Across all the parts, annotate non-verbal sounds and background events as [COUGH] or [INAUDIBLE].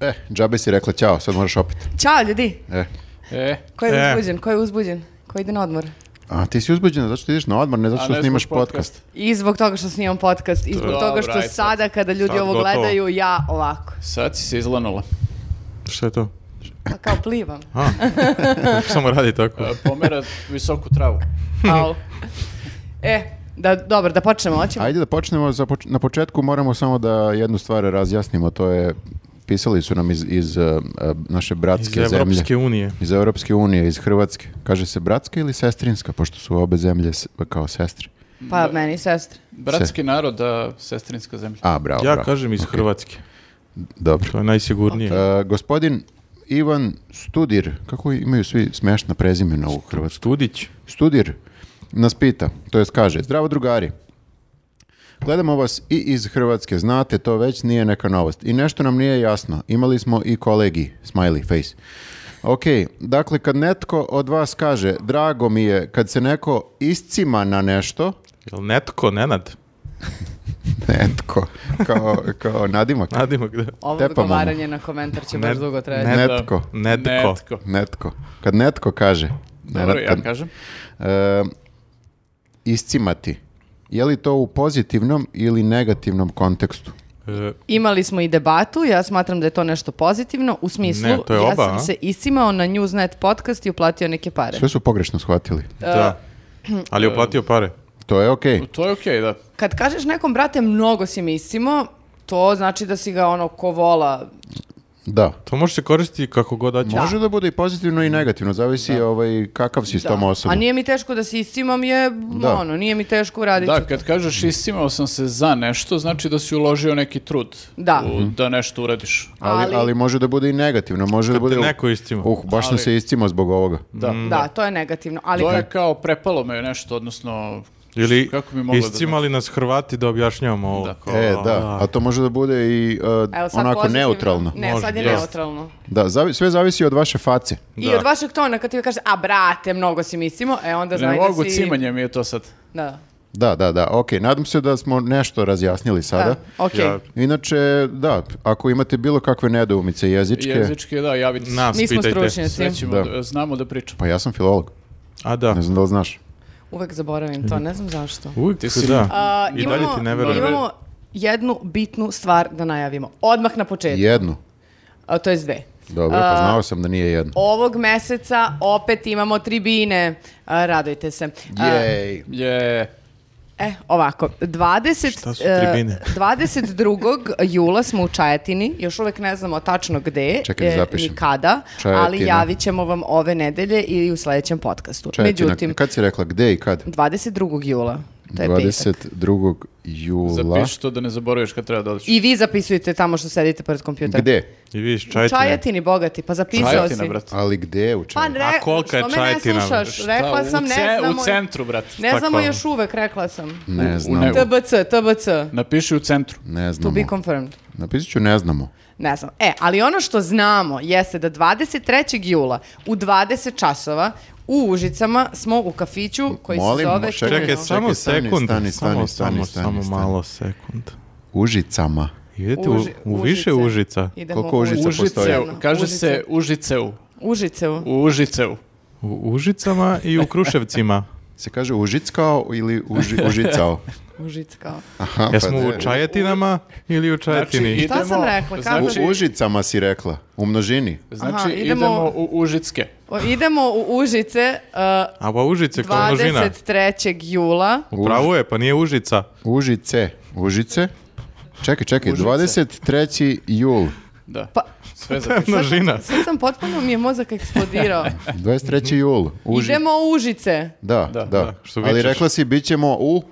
E, džabe si rekla ćao, sad moraš opet. Ćao ljudi. E. E, Ko je E. uzbuđen? Ko je uzbuđen? Ko ide na odmor? A ti si uzbuđena zato što ideš na odmor, ne zato a što ne snimaš zbog podcasta. podcast. I zbog toga što snimam podcast, i zbog Dobro, toga što ajde sad. sada kada ljudi Sad ovo gotovo. gledaju, ja ovako. Sad si se izlanula. Šta je to? [LAUGHS] Pa kao plivam. A, samo radi tako. E, Pomera visoku [LAUGHS] travu. Au. E, da, dobro, da počnemo, hoćemo. Ajde da počnemo, za poč- na početku moramo samo da jednu stvar razjasnimo, to je, pisali su nam iz, iz uh, uh, naše Iz bratske zemlje. Evropske unije. Iz Europske unije, iz Hrvatske. Kaže se bratska ili sestrinska, pošto su obe zemlje s- kao sestre. Pa meni, sestra. Bratski narod, a sestrinska zemlja. A, bravo, Ja bravo. kažem iz Ok, Hrvatske. Dobro. To je najsigurnije. E, gospodin Ivan Studir, kako imaju svi smešna prezimena u Hrvatskoj? Studić. Studir nas pita, to jest kaže, zdravo drugari, Gledamo vas i iz Hrvatske, znate, to već nije neka novost. I nešto nam nije jasno. Imali smo i kolegi, smiley face. Ok, dakle, kad netko od vas kaže, drago mi je, kad se neko iscima na nešto, Jel netko, Nenad? netko, kao, kao nadimak, Nadimo gde? Ovo Tepamo. odgovaranje na komentar će baš Ne- dugo trajati. ne- netko, Netko. Netko. netko. Kad netko kaže, Dobro, kad- ja kažem. E, iscimati. Je li to u pozitivnom ili negativnom kontekstu? E, Imali smo i debatu, ja smatram da je to nešto pozitivno, u smislu, Ne, to je ja oba, sam a? se isimao na Newsnet podcast i uplatio neke pare. Sve su pogrešno shvatili. [CLEARS THROAT] da. Ali je uplatio pare. To je okej. To je okej, da. Kad kažeš nekom, brate, mnogo si mi isimao, to znači da si ga ono ko vola. Da. To može se koristiti kako god daće. Može da bude i pozitivno i negativno, zavisi ovaj, kakav si s tom A osobom. nije mi teško da si isimam je, Da. ono, nije mi teško uradit ću Da, kad kažeš iscimao sam se za nešto, znači da si uložio neki trud Da. u- Mhm. da nešto uradiš. Ali, ali- ali... može da bude i negativno, može da Te bude... neko istima. Uh, baš sam Ali- se iscimo zbog ovoga. Da. Mm. Da, to je negativno. Ali To kad- je kao prepalo me nešto, odnosno... Ili kako bi mogla da znači? iscimali nas Hrvati da objašnjavamo ovo. Da. Kao, E, da, a a, to može da bude i uh, Evo, sad onako pozitivno. neutralno. Ne, Može, sad je da. neutralno. Da, zavi- sve zavisi od vaše face. I Da. od vašeg tona kad ti ga kaže, a brate, mnogo si mislimo, e onda Ne znaj da mogu, si... cimanje mi je to sad. Da, Da, da, da, ok, nadam se da smo nešto razjasnili da, sada. okej. Ja- Inače, da, ako imate bilo kakve nedoumice jezičke, Jezički, da, javite se. nas Mi smo pitajte. Sve stručnjaci. ćemo, Da. da- znamo da pričamo. pa ja sam filolog, A da. ne znam da li znaš. Uvek zaboravim to, ne znam zašto. Uvijek Ti se si- da. A, I dalje ti ne verujem. Imamo jednu bitnu stvar da najavimo. Odmah na početku. Jednu, A, to je dve. dobro, pa znao sam da nije jednu. Ovog meseca opet imamo tribine. A, radujte se. A, Jej. Je... E, ovako, 20, Šta su e, tribine? [LAUGHS] 22. jula smo u Čajetini, još uvek ne znamo tačno gde, Čekaj da zapišem. ni kada, Čajetina. ali javit ćemo vam ove nedelje i u sledećem podcastu. Čekaj, Međutim, na- kad si rekla gde i kad? 22. jula, to je petak. 22. jula. Zapiši to da ne zaboraviš kad treba da odiš. I vi zapisujete tamo što sedite pred kompjuterom. Gde? I vidiš, U čajte. Čajetini, bogati, pa zapisao Čajetina, si. brate. Ali gde u Pa Čajetini? re, A kolika je što me ne Čajetina? slušaš? Rekla Šta, u sam, ne ce- znamo. U centru, brate. Ne Šta znamo kao? još uvek, rekla sam. Ne u znam, nego. TBC, TBC. Napiši u centru. ne To znamo. be confirmed. Napisat ću ne znamo. Ne znam. E, ali ono što znamo jeste da 23. jula u 20 časova u Užicama smo u kafiću koji Molim, se zove... čekaj, Čekaj, Kino. samo stani, sekund. stani, stani, Samo, stani, samo, stani, samo stani. malo sekund. Užicama. Idete u, Uži- u više užica. Idemo Koliko u Užica Užice. postoji? Užiceu. Kaže Užice. se Užiceu. Užiceu. U Užiceu. U Užicama i u [LAUGHS] Kruševcima. Se kaže užickao ili uži, užicao? Užic kao. Aha, Jesmo pa ne. u Čajetinama ili u Čajetini? Znači, Šta sam idemo- rekla, kako? Znači, U Užicama si rekla, u množini. znači Aha, idemo- idemo... u Užicke. O, idemo u Užice uh, A ba Užice kao množina. 23. jula. Upravo je, pa nije [LAUGHS] Užica. Užice, Užice. Čekaj, čekaj, Užice. 23. jul. Da. Pa- Sve za To je [LAUGHS] množina. Sad sam potpuno mi je mozak eksplodirao. 23. jul. [LAUGHS] Uži... Idemo u Užice. Da, da. Da, Mhm. da, što Ali vičeš. rekla si bit ćemo u...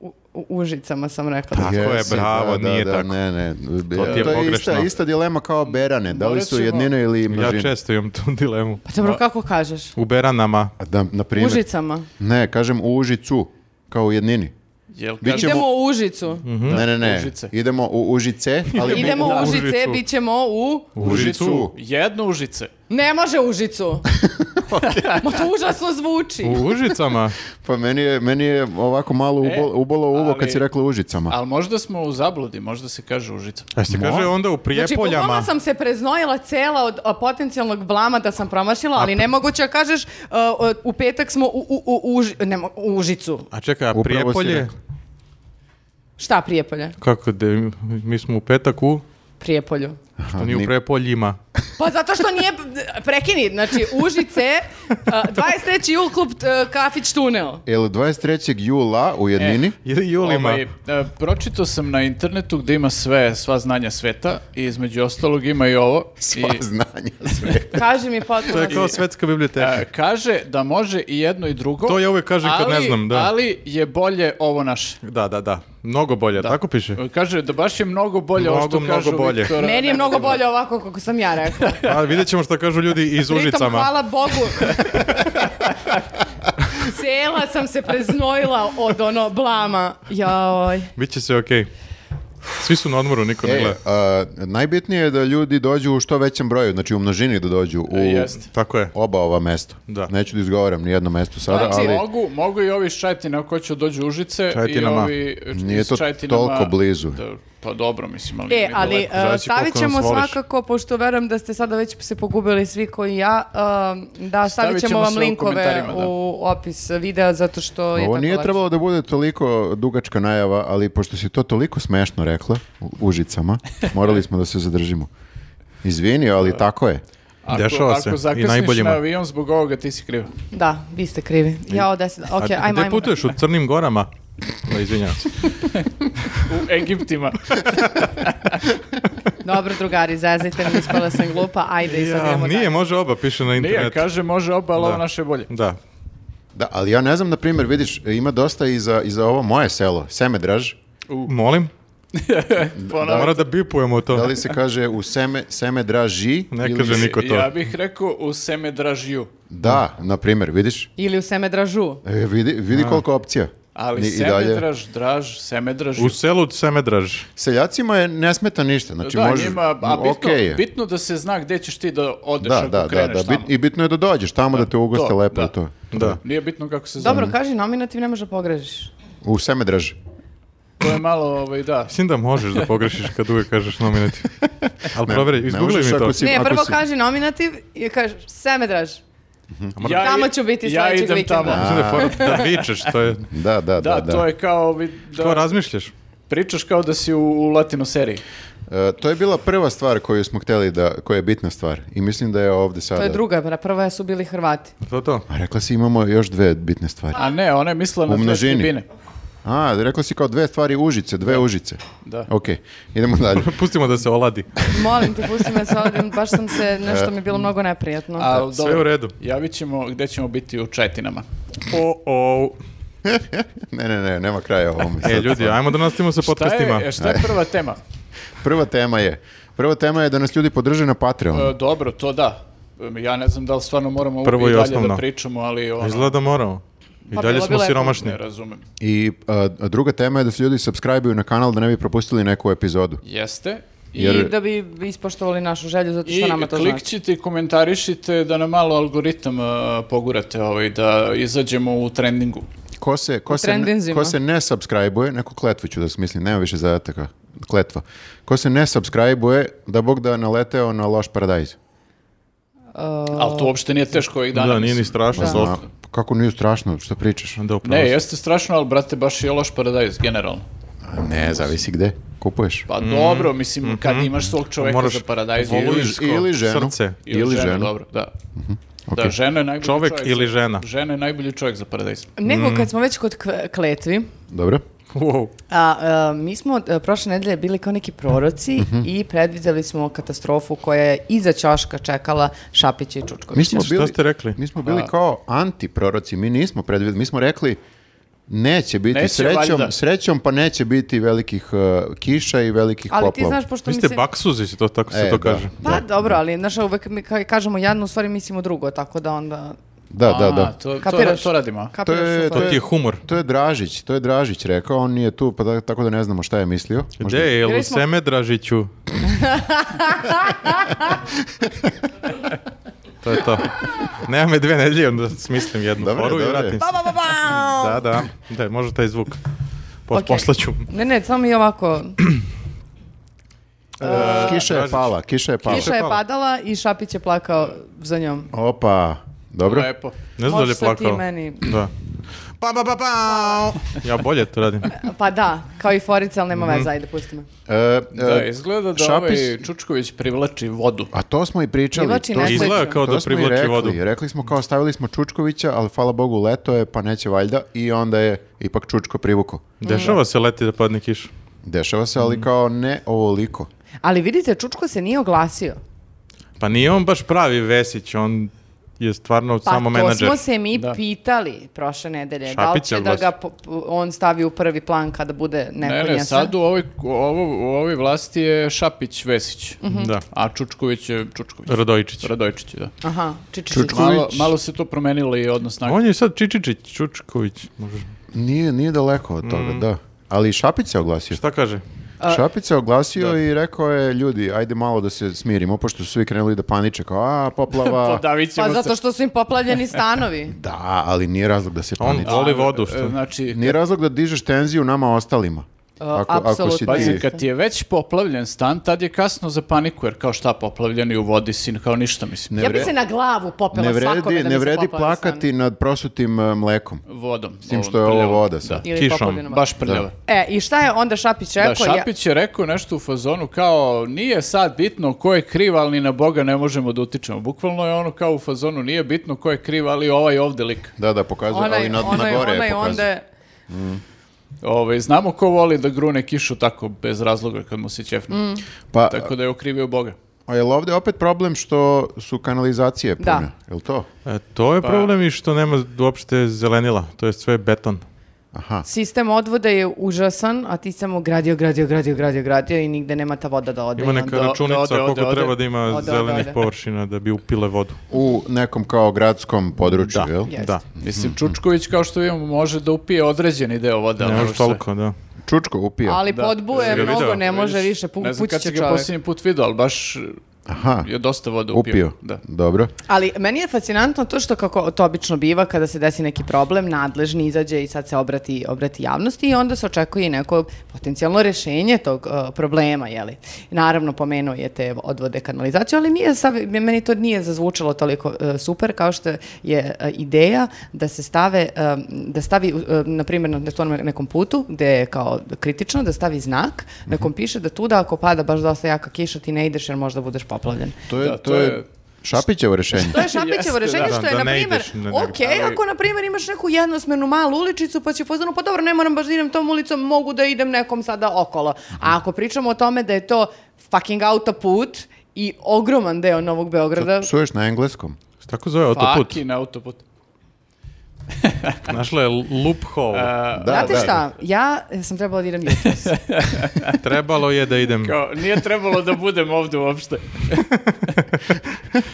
U, u Užicama sam rekla. Tako je, Jesi, bravo, da, da, nije da, tako. Ne, ne, to, ti je je pogrešno. ista, ista dilema kao berane, da li Morat su ćemo- jednine ili Ja množine. često imam tu dilemu. Pa dobro, kako kažeš? U Beranama. Da, na U primjer, Užicama. ne, kažem u Užicu, kao u jednini. Jel Bit kažem- ćemo- Idemo u Užicu. Mhm. Ne, ne, ne, Užice. idemo u Užice, [LAUGHS] ali bi- Idemo u u Užice, Užicu. bit ćemo u... u Užicu. Jedno Užice. [LAUGHS] Ne može Užicu. Ma to užasno zvuči. U [LAUGHS] Užicama? Pa meni je, meni je ovako malo ubol- ubolo uvo kad E, ali- si rekla Užicama. Ali možda smo u zabludi, možda se kaže Užica. A se kaže onda u Znači, pogloma Prijepoljama. sam se preznojila cela od a, potencijalnog blama da sam promašila, ali nemoguće da kažeš a, o, u petak smo u, u, u, Uži- ne mo- u Užicu. A čekaj, a Upravo si Prijepolje? rekla. Šta Prijepolje? Kako, de, mi smo u petak u, Prijepolju. što nije u ni- Prijepoljima. Pa zato što nije, prekini, znači Užice, a, 23. jul klub t- kafić tunel. Jel 23. jula E, u jednini? [LAUGHS] Ili Julima. Ovaj, e, pročitao sam na internetu gdje ima sve, sva znanja sveta i između ostalog ima i ovo. Sva I, znanja sve. Kaži mi potpuno. To je kao svetska biblioteka. [LAUGHS] e, kaže da može i jedno i drugo. To ja uvek kažem kad ali- ne znam, da. Ali je bolje ovo naše. Da, da, da. Mnogo bolje, tako [LAUGHS] piše? Kaže da baš je mnogo bolje ovo Mnogo, što mnogo kažu bolje. Viktora. Meni je mnogo bolje ovako kako sam ja rekla. A Pa vidjet ćemo šta kažu ljudi iz Pritom, Užicama. hvala Bogu. [LAUGHS] Cela sam se preznojila od ono blama. E, Jaoj. Biće sve okej. Svi su na odmoru, niko ne E, gleda. a, najbitnije je da ljudi dođu u što većem broju, znači u množini da dođu u E, jeste. Tako je. oba ova mesta. Da. Neću da izgovaram ni jedno mesto sada, Znači, ali mogu, mogu i ovi iz Čajtina ko će dođu u Užice Čajtinama. i ovi iz Nije to Čajtinama- toliko blizu. Da, pa dobro, mislim, ali E, nije ali daleko. e, Zavisi stavit koliko ćemo nas voliš. svakako, pošto verujem da ste sada već se pogubili svi koji ja, e, da stavit Stavit ćemo ćemo vam sve u linkove komentarima, u, da. opis videa, zato što je Ovo tako nije lakše. trebalo da bude toliko dugačka najava, ali pošto si to toliko smešno rekla u Užicama, morali smo da se zadržimo. Izvini, ali tako je. Ako, Dešava se, i ako zakasniš najboljima. na avion zbog ovoga, ti si kriv. Da, vi ste krivi. Ja od deset, ok, A ajmo, gde ajmo. putuješ? U Crnim gorama? Da, izvinjavam se. U [LAUGHS] Egiptima. Dobro, drugari, zezajte mi, ispala sam glupa, ajde i sad Ja, idemo nije, dalje. može oba, piše na internetu. Nije, kaže, može oba, ali Da. ovo naše je bolje. Da. Da, ali ja ne znam, na primjer, vidiš, ima dosta i za, i za ovo moje selo, Semedraž. Molim? [LAUGHS] Ponovo. Mora da bipujemo to. Da li se kaže u seme, Semedraži? Ne ili- kaže niko to. Ja bih rekao u Semedražiju. Da, na primjer, vidiš? Ili u Semedražu. E, vidi vidi koliko opcija. Ali Ni- i dalje. Semedraž, draž, Semedražiju. U selu Semedraž. Seljacima je ne smeta ništa, znači da, može, njima, a bitno, okej je. bitno da se zna gdje ćeš ti da odeš da, ako da, da, kreneš da, tamo. bit- i bitno je da dođeš tamo da, te ugoste to, lepo da. i to. Da. Nije bitno kako se zove. Dobro, kaži nominativ, ne može da pogrežiš. U Semedraž. To je malo, ovaj, da. Mislim da možeš da pogrešiš kad uvek kažeš [LAUGHS] nominativ. Ali Ne- proveri, ne izgooglaj možeš mi to. ako si- Ne, ako prvo si- kaži nominativ i kaži Semedraž. Ja, Tamo ću biti ja sledećeg idem vikenda. tamo. Mislim da je fora da vičeš, to je... Da, da, da. Da, da. to je kao, ovaj, da Kao razmišljaš. pričaš kao da si u, u latino seriji. E, to je bila prva stvar koju smo hteli da, koja je bitna stvar i mislim Pa da je ovdje sada. To je druga, bra, prva su bili Hrvati. To to. [LAUGHS] A rekla si imamo još dve bitne stvari. A ne, ona je mislila na U dve množini. tribine. A, rekla si kao dve stvari užice, dve užice. Da. Ok, idemo dalje. [LAUGHS] Pustimo da se oladi. Molim te, pusti me sa ovdje, baš sam [LAUGHS] se, nešto mi je bilo E, mnogo neprijatno. Ali Sve dobro, u redu. Javit ćemo gde ćemo biti u Čajtinama. O, o. Ne, ne, ne, nema kraja ovome. E, Sad ljudi, stvarno. ajmo da nastavimo sa Šta podcastima. je, e, šta je prva tema? Prva tema je, prva tema je da nas ljudi podrže na Patreon. E, dobro, to da. E, Ja ne znam da li stvarno moramo Prvo i i dalje osnovno. da pričamo, ali ono, Izgleda da moramo. I Pa dalje bilo bi smo lepo. siromašni. ne razumem. I a, druga tema je da se ljudi subscribe na kanal da ne bi propustili neku epizodu. Jeste. I, jer- I da bi ispoštovali našu želju, zato i što nama to znači. klikćite i komentarišite da nam malo algoritam e, pogurate ovaj, da izađemo u trendingu. Ko se, ko se, ne, trendinzima. ko se ne subscribe-uje, neku kletvu ću da smislim, nema više zadataka, kletva. Ko se ne subscribe-uje, da Bog da naleteo na loš paradajz. Pa, Ali to uopšte nije teško ovih dana. Da, nije ni mislim. strašno. A, zlo- pa kako nije strašno, što pričaš? Da, upravo Ne, si. jeste strašno, ali brate, baš je loš paradajz, generalno. A Ne, zavisi gde, kupuješ. Pa dobro, mislim, kad imaš svog čoveka Mm, mhm. Moraš za paradajz voluješ Ili, ili ženu. Srce. Ili, ženu. dobro, da. Mhm, Da, žena je najbolji Čovek čovjek. ili za, žena? Žena je najbolji čovjek za paradajz. Mm. Nego kad smo već kod kve- kletvi, Dobro. Wow. a, a, mi smo e, prošle nedelje bili kao neki proroci Mhm. i predvidjeli smo katastrofu koja je iza ćoška čekala Šapića i Mi Čučkovića. smo Šta bili, ste rekli? Mi smo bili kao antiproroci, mi nismo predvidjeli, mi smo rekli neće biti Neće, srećom, valjda. srećom, pa neće biti velikih uh, kiša i velikih Ali ti poplava. znaš, pošto Vi mi ste se... baksuzi, se to tako se E, to da. kaže. Pa dobro, ali znaš, uvek mi ka- kažemo jedno, u stvari mislimo drugo, tako da onda... Da, da, da. A, to, to, Kapiraš? to radimo. a? kapiraš To je- u to To stvari. ti je humor. To je Dražić, to je Dražić rekao, on nije tu, pa da- tako da ne znamo šta je mislio. Gde je, jel Bili u smo- [LAUGHS] Semedražiću? To je to. Nema me dve nedelje, onda smislim jednu Dobro je, foru i dobro je. vratim se. Ba, ba, ba, ba. Da, da, da, može taj zvuk. Po, Ok. Poslaću. Ne, ne, samo mi ovako, kiša je uh, Dražić. pala, kiša je pala. kiša je pala. padala i Šapić je plakao za njom. Opa, dobro. Lepo. Ne znam da li je Možeš sad ti plakao. meni- Da. Pa, pa, pa, pa. Ja bolje to radim. Pa da, kao i Forica, ali nema Mhm. veze, ajde, pusti me. E, e, Da, izgleda da Šapis- ovaj Čučković privlači vodu. A to smo i pričali. Privlači to nešto. smo- Izgleda kao to da smo i rekli. privlači vodu. Rekli smo kao stavili smo Čučkovića, ali hvala Bogu leto je, pa neće valjda. I onda je ipak Čučko privuko. Dešava se leti da padne kiša. Dešava se, Mm. ali kao ne ovoliko. Ali vidite, Čučko se nije oglasio. Pa nije on baš pravi Vesić, on je stvarno Pa samo to menadžer. smo se mi Da. pitali prošle nedelje. da li Šapić će je da ga oglasio. po- po- on stavi u prvi plan kada bude neko Ne, ne, njesa? sad u ovoj, u ovo- u ovoj vlasti je Šapić Vesić. Da. A Čučković je Čučković. Radojičić. Radojičić, da. Aha, čiči, čiči. Čučko. Malo, malo se to promenilo i odnos snaga. On je sad Čičičić, Čučković. Može. Nije, nije daleko od toga, Mm. da. Ali Šapić se oglasio. Šta kaže? Šapić se oglasio i rekao je, ljudi, ajde malo da se smirimo, pošto su svi krenuli da paniče, kao, a, poplava. Podavit [LAUGHS] ćemo Pa zato se. što su im poplavljeni stanovi. da, ali nije razlog da se On paniče. voli vodu, E, što? Znači, Nije razlog da dižeš tenziju nama ostalima. Ako, ako si apsolutno. Pa Pazi, ti... Jeste. kad ti je već poplavljen stan, tad je kasno za paniku, jer kao šta poplavljen i u vodi sin, kao ništa, mislim. Ne ja bi vre- se na glavu popela Ne svakome vredi, da mi ne se vredi poplavio stan. plakati nad prosutim e, mlekom. Vodom. S tim što je ovo voda sad. Ili kišom. poplavljenom. Baš prljava. E, i šta je onda Šapić Da, rekao? Ja- Šapić je rekao nešto u fazonu kao nije sad bitno ko je kriv, ali ni na Boga ne možemo da utičemo. Bukvalno je ono kao u fazonu nije bitno ko je kriv, ali ovaj ovde lik. Da, da, pokazuje, onaj, ali na, onaj, na gore onaj je onda pokazuje. je- Ovaj, znamo ko voli da grune kišu tako bez razloga kad mu se ćefne. Mm. Pa, Tako da je okrivio Boga. a je li ovdje opet problem što su kanalizacije pune? Da. Je li to? E, to je problem i što nema uopšte zelenila, to je sve beton. Aha. Sistem odvoda je užasan, a ti samo gradio, gradio, gradio, gradio, gradio i nigde nema ta voda da ode. Ima i neka onda- računica ode, ode, koliko ode. treba da ima Ode, ode, zelenih ode. površina da bi upile vodu. U nekom kao gradskom području, jel? Jeste. Da. Mislim, Čučković kao što vidimo može da upije određeni deo vode. ali Ne ovo može što- toliko, da. Čučko upio. Ali Da. podbuje Jesi ga mnogo, video? ne može Vidiš, više, pu, Ne znam pući kad si će ga čovjek. posljednji put vidio, ali baš Aha, je dosta vode upio. upio. Da. Dobro. Ali meni je fascinantno to što kako to obično biva kada se desi neki problem, nadležni izađe i sad se obrati, obrati javnosti i onda se očekuje i neko potencijalno rešenje tog uh, problema, jeli. Naravno, pomenuo je te odvode kanalizaciju, ali nije, sav, meni to nije zazvučalo toliko uh, super kao što je uh, ideja da se stave, um, da stavi, uh, na primjer, na tom nekom putu gde je kao kritično, da stavi znak na kom piše da tuda ako pada baš dosta jaka kiša ti ne ideš jer možda budeš poplavljen. To je, Da, to je Šapićevo [LAUGHS] rješenje. To je Šapićevo Jeste, rešenje da. što je, Da, na ne primjer, ideš na ok, negde. ako na primjer imaš neku jednosmernu malu uličicu, pa će pozvanu, pa dobro, ne moram baš da idem tom ulicom, mogu da idem nekom sada okolo. A ako pričamo o tome da je to fucking autoput i ogroman deo Novog Beograda, Psuješ na engleskom. Se tako zove autoput. Faki na autoput. Našla je [LAUGHS] loophole. A, Da, Znate da. šta, ja sam trebala da idem [LAUGHS] jutros. Trebalo je da idem. kao, nije trebalo da budem ovde uopšte.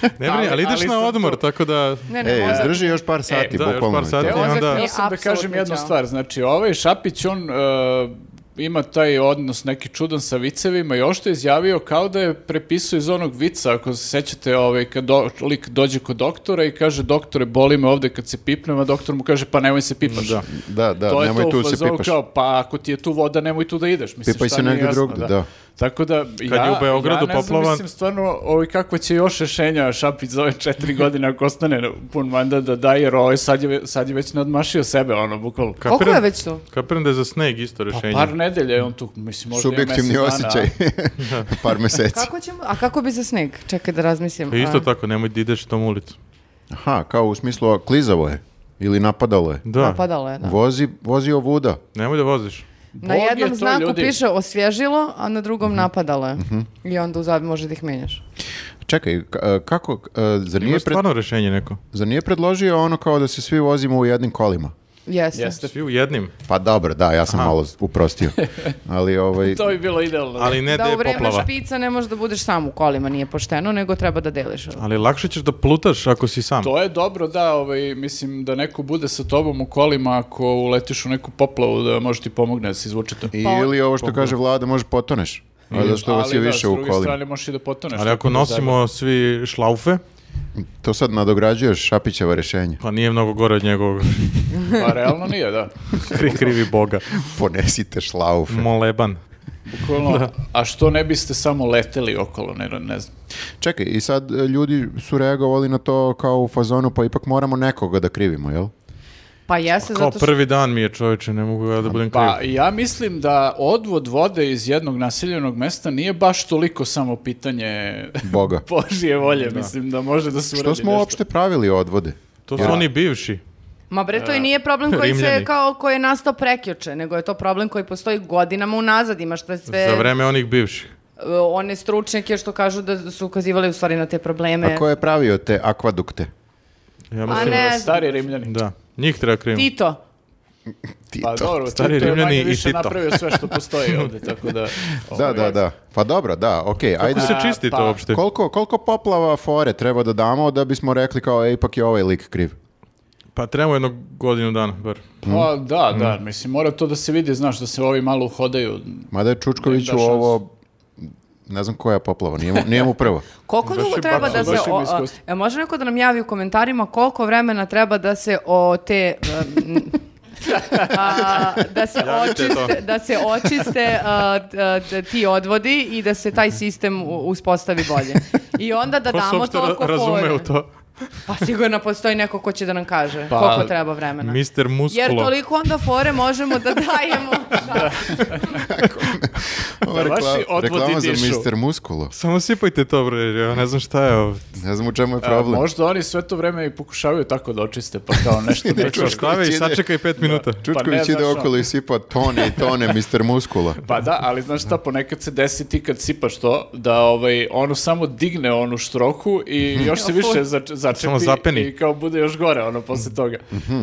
Ne brini, ali ali- ideš ali na sam odmor, to- tako da... Ne, ne, Ej, možda- E, izdrži još par sati, E, da, još par bukvalno. sati, te. onda- Ozak, da. ja sam da Apsolutno kažem jednu ćao. stvar. Znači, ovaj Šapić, on e, ima taj odnos neki čudan sa vicevima i ovo što je izjavio kao da je prepisao iz onog vica, ako se sećate, ovaj, kad do- lik dođe kod doktora i kaže, doktore, boli me ovde kad se pipnem, a doktor mu kaže, pa nemoj se pipaš. Da. Da, da, nemoj tu se pipaš. Kao, pa ako ti je tu voda, nemoj tu da ideš. Mislim, Pipaj šta se nije negde jasno, drugde, da. Tako da, ja, je u Beogradu ja ne znam, poplava- mislim, stvarno, ovaj, kako će još rešenja Šapić za ove četiri [LAUGHS] godine, ako ostane na pun mandat da da, jer ovaj sad je, ve- sad je već nadmašio sebe, ono, bukvalno. Koliko je Kapiram- već tu? Pa Kapiram da je za sneg isto rešenje. Par nedelja je on tu, mislim, možda je Subjektivni mesec osjećaj. [LAUGHS] par meseci. Kako ćemo, a kako bi za sneg? Čekaj da razmislim. I Pa isto A, tako, nemoj da ideš tom ulicu. Aha, kao u smislu klizavo je. Ili napadalo je. Da, Napadalo je, pa da. Vozi, vozi ovuda. nemoj da voziš. Na Bog je jednom to, znaku ljudi. piše osvježilo, a na drugom Mhm. napadalo je. I onda u zabi može da ih menjaš. Čekaj, k- e, kako, e, zar Ima nije, pred, stvarno rešenje neko. zar nije predložio ono kao da se svi vozimo u jednim kolima? Jeste. Jeste. Svi u jednim, Pa dobro, da, ja sam malo [LAUGHS] uprostio. Ali ovaj... To bi bilo idealno. ali ne da, da je u vreme poplava. špica ne možeš da budeš sam u kolima, nije pošteno, nego treba da deliš. Ali lakše ćeš da plutaš ako si sam. To je dobro, da, ovaj, mislim, da neko bude sa tobom u kolima ako uletiš u neku poplavu, da može ti pomogne da se izvučete. I- Pa on- ili ovo što kaže vlada, može potoneš. Ali zato što vas je Ali da, više s u druge kolima. strane možeš i da potoneš. Ali ako tako da zajedno. nosimo svi šlaufe, To sad nadograđuješ Šapićevo [LAUGHS] rješenje. Pa nije mnogo gore od [LAUGHS] njegovog. Pa realno nije, da. Kri, krivi boga. Ponesite šlaufe. Moleban. Bukvalno, a što ne biste samo leteli okolo, ne, ne znam. Čekaj, i sad e, ljudi su reagovali na to kao u fazonu, pa ipak moramo nekoga da krivimo, jel? Pa jeste Kao zato što... prvi dan mi je čovječe, ne mogu ja da budem kriv. Pa ja mislim da odvod vode iz jednog naseljenog mesta nije baš toliko samo pitanje [LAUGHS] Boga. Božije volje, mislim da može da se uradi Što smo nešto. uopšte pravili odvode? To su Ja. oni bivši. Ma bre, to i nije problem koji se Rimljani. kao koji je nastao prekjuče, nego je to problem koji postoji godinama unazad, imaš te sve Za vreme onih bivših. e, one stručnjake što kažu da su ukazivali u stvari na te probleme. A ko je pravio te akvadukte? Ja A mislim, ne znam. Stari rimljani. da. Njih treba krivim. Tito. Ti Pa to. dobro, Stari Tito je Rimljani manje i više [LAUGHS] Tito. napravio sve što postoji ovde, tako da... ovaj, Da, da, da. Pa dobro, da, okej, ajde. Kako se A, čisti pa- to uopšte? Koliko, koliko poplava fore treba da damo da bismo rekli kao, e, ipak je ovaj lik kriv? Pa trebamo jedno godinu dana, bar. Pa Mhm. da, da, mislim, mora to da se vidi, znaš, da se ovi malo uhodaju. Mada je Da Čučkoviću im da ovo, ne znam koja poplava, nije mu, nije mu prvo. Koliko Baš dugo je treba baš- da se... baš im o- a, iskustvo. e, može neko da nam javi u komentarima koliko vremena treba da se o te... um, [LAUGHS] a, da se Javite očiste, to. da se očiste a, t- a, t- ti odvodi i da se taj sistem u- uspostavi bolje. I onda da Ko se damo uopšte toliko ra- razume fore. u to? Pa sigurno postoji neko ko će da nam kaže Pa, koliko treba vremena. Mister Muskulo. Jer toliko onda fore možemo da dajemo. [LAUGHS] Ova [LAUGHS] Da, vaši rekla- odvodi reklama za dišu. Mr. Muskulo. Samo sipajte to, bre, jer ja ne znam šta je ovo. Ne znam u čemu je A, problem. E, možda oni sve to vreme i pokušavaju tako da očiste, pa kao [LAUGHS] nešto da Čuš, stavi i ide. sačekaj pet minuta. Čučković znaš ide ono. okolo i sipa tone i [LAUGHS] tone Mr. Muskula. Pa da, ali znaš šta, ponekad se desi ti kad sipaš to, da ovaj, ono samo digne onu štroku i još se više zač- začepi Mhm. Samo zapeni. Mhm. i kao bude još gore ono posle toga.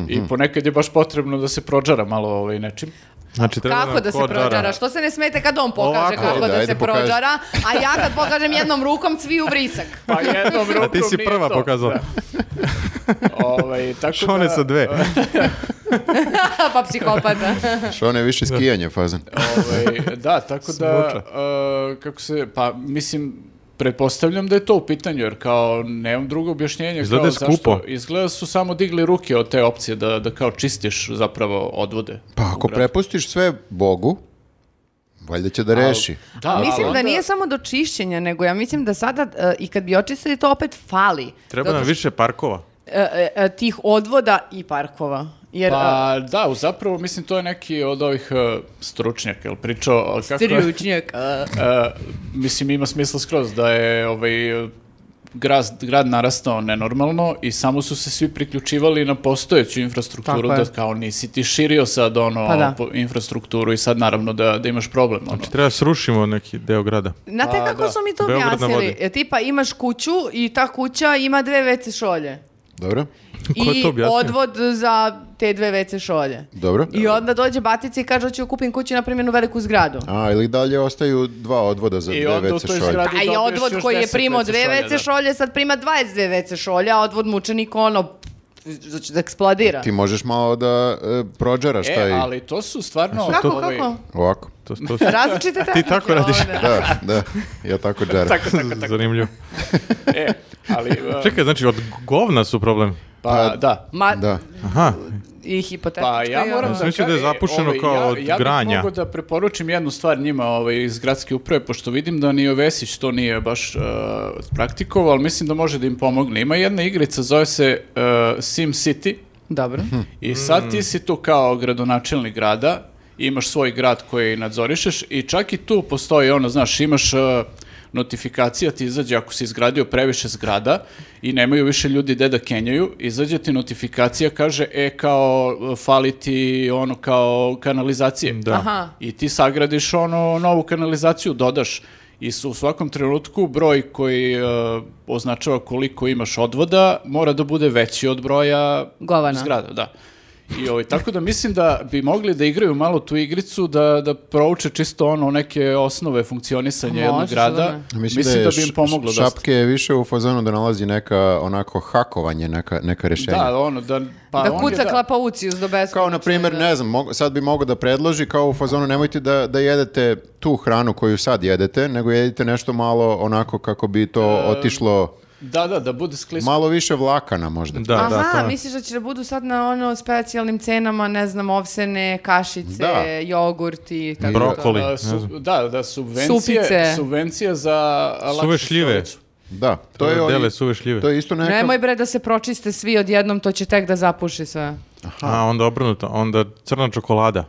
I ponekad je baš potrebno da se prođara malo ovaj, nečim. Znači, treba kako nam da se ko dara. prođara? Što se ne smete kad on pokaže Ovako. kako Ajde, da, ajde, se pokaži. prođara, a ja kad pokažem jednom rukom cvi u vrisak. Pa jednom rukom [LAUGHS] A ti si nije prva to. pokazala. Da. Ovaj, tako Šone da, sa dve. [LAUGHS] pa psihopata. [LAUGHS] Što one ono više skijanje fazan. Ovaj, da, tako da, Smuča. e, kako se, pa mislim, pretpostavljam da je to u pitanju, jer kao nemam drugo objašnjenje. Izgleda kao, je Zašto, skupo. izgleda su samo digli ruke od te opcije da, da kao čistiš zapravo odvode. Pa ako prepustiš sve Bogu, valjda će da reši. Da, Mislim ali da nije onda- samo do čišćenja, nego ja mislim da sada e, i kad bi očistili to opet fali. Treba Zato nam što, više parkova. e, e, e, tih odvoda i parkova. Jer, e, Pa da, u zapravo mislim to je neki od ovih e, stručnjaka, jel pričao a kako je, [LAUGHS] stručnjak, e, e, mislim ima smisla skroz da je ovaj e, grad, grad narastao nenormalno i samo su se svi priključivali na postojeću infrastrukturu Tako je. da kao nisi ti širio sad ono Pa da. po- infrastrukturu i sad naravno da, da imaš problem ono. Znači, treba srušimo neki deo grada. Znate A, kako da. su mi to Beograd na objasnili? vodi. E, tipa imaš kuću i ta kuća ima dve WC šolje. Dobro? Ko je I to objasnio? odvod za te dve WC šolje. Dobro? I onda dođe batica i kaže hoću kupim kuću na primjer u veliku zgradu. A, ili dalje ostaju dva odvoda za I dve onda u WC toj šolje. zgradi A Pa i dobiješ odvod još koji je 10 primao WC dve šolja, da. WC šolje, sad prima 22 WC šolje, a odvod mučenik ono pff, znači da eksplodira. Ti možeš malo da e, prođaraš E, taj... ali to su stvarno... Kako, ovaj, kako? Ovako. To, to [LAUGHS] Različite tehnike tako radiš. ovde. Da, da. Ja [LAUGHS] tako džaram. Tako, tako, tako. zanimljivo. E, ali... e, Čekaj, znači, od govna su problem. pa da. Ma, Da. Aha, i ono hipotetički. Pa ja moram Ja sam mislio da je kažem, zapušeno ovaj, kao ja- od Ja bih granja. mogao da preporučim jednu stvar njima ovaj, iz gradske uprave, pošto vidim da ni Ovesić to nije baš uh, praktikovao, ali mislim da može da im pomogne. Ima jedna igrica, zove se uh, Sim City Dobro. i sad ti si tu kao gradonačelnik grada, imaš svoj grad koji nadzorišeš i čak i tu postoji ono, znaš, imaš... uh, notifikacija ti izađe ako si izgradio previše zgrada i nemaju više ljudi gde da kenjaju, izađe ti notifikacija, kaže, e, kao, uh, fali ti ono, kao kanalizacije. da. Aha. I ti sagradiš ono novu kanalizaciju, dodaš i su u svakom trenutku broj koji e, označava koliko imaš odvoda mora da bude veći od broja Govana. zgrada, da. I ovaj, tako da mislim da bi mogli da igraju malo tu igricu, da, da prouče čisto ono neke osnove funkcionisanja jednog Može, grada. sigurno. Mislim, Mislim je da, bi im š- pomoglo š- dosta. Šapke je više u fazonu da nalazi neka onako hakovanje, neka, neka rešenja. Da, ono, da, pa da on je kuca da- klapaucijus do beskonačno. Kao, na primjer, da. ne znam, mogu- sad bi mogao da predloži kao u fazonu nemojte da, da jedete E, tu hranu koju sad jedete, nego jedite nešto malo onako kako bi to otišlo Da, da, da bude sklisko. Malo više vlakana možda. Da, Aha, da, ta- misliš da će da budu sad na ono specijalnim cenama, ne znam, ovsene, kašice, Da. jogurt i tako Broko. to. Koli, Da, ne su- znam. da, da, subvencije, Supice. subvencija za lakšu Suve šljive. stolicu. Da, to je, Ove ovi- dele suve šljive. to je isto neka... Nemoj bre da se pročiste svi odjednom, to će tek da zapuši sve. A, onda obrnuto, onda crna [LAUGHS] čokolada.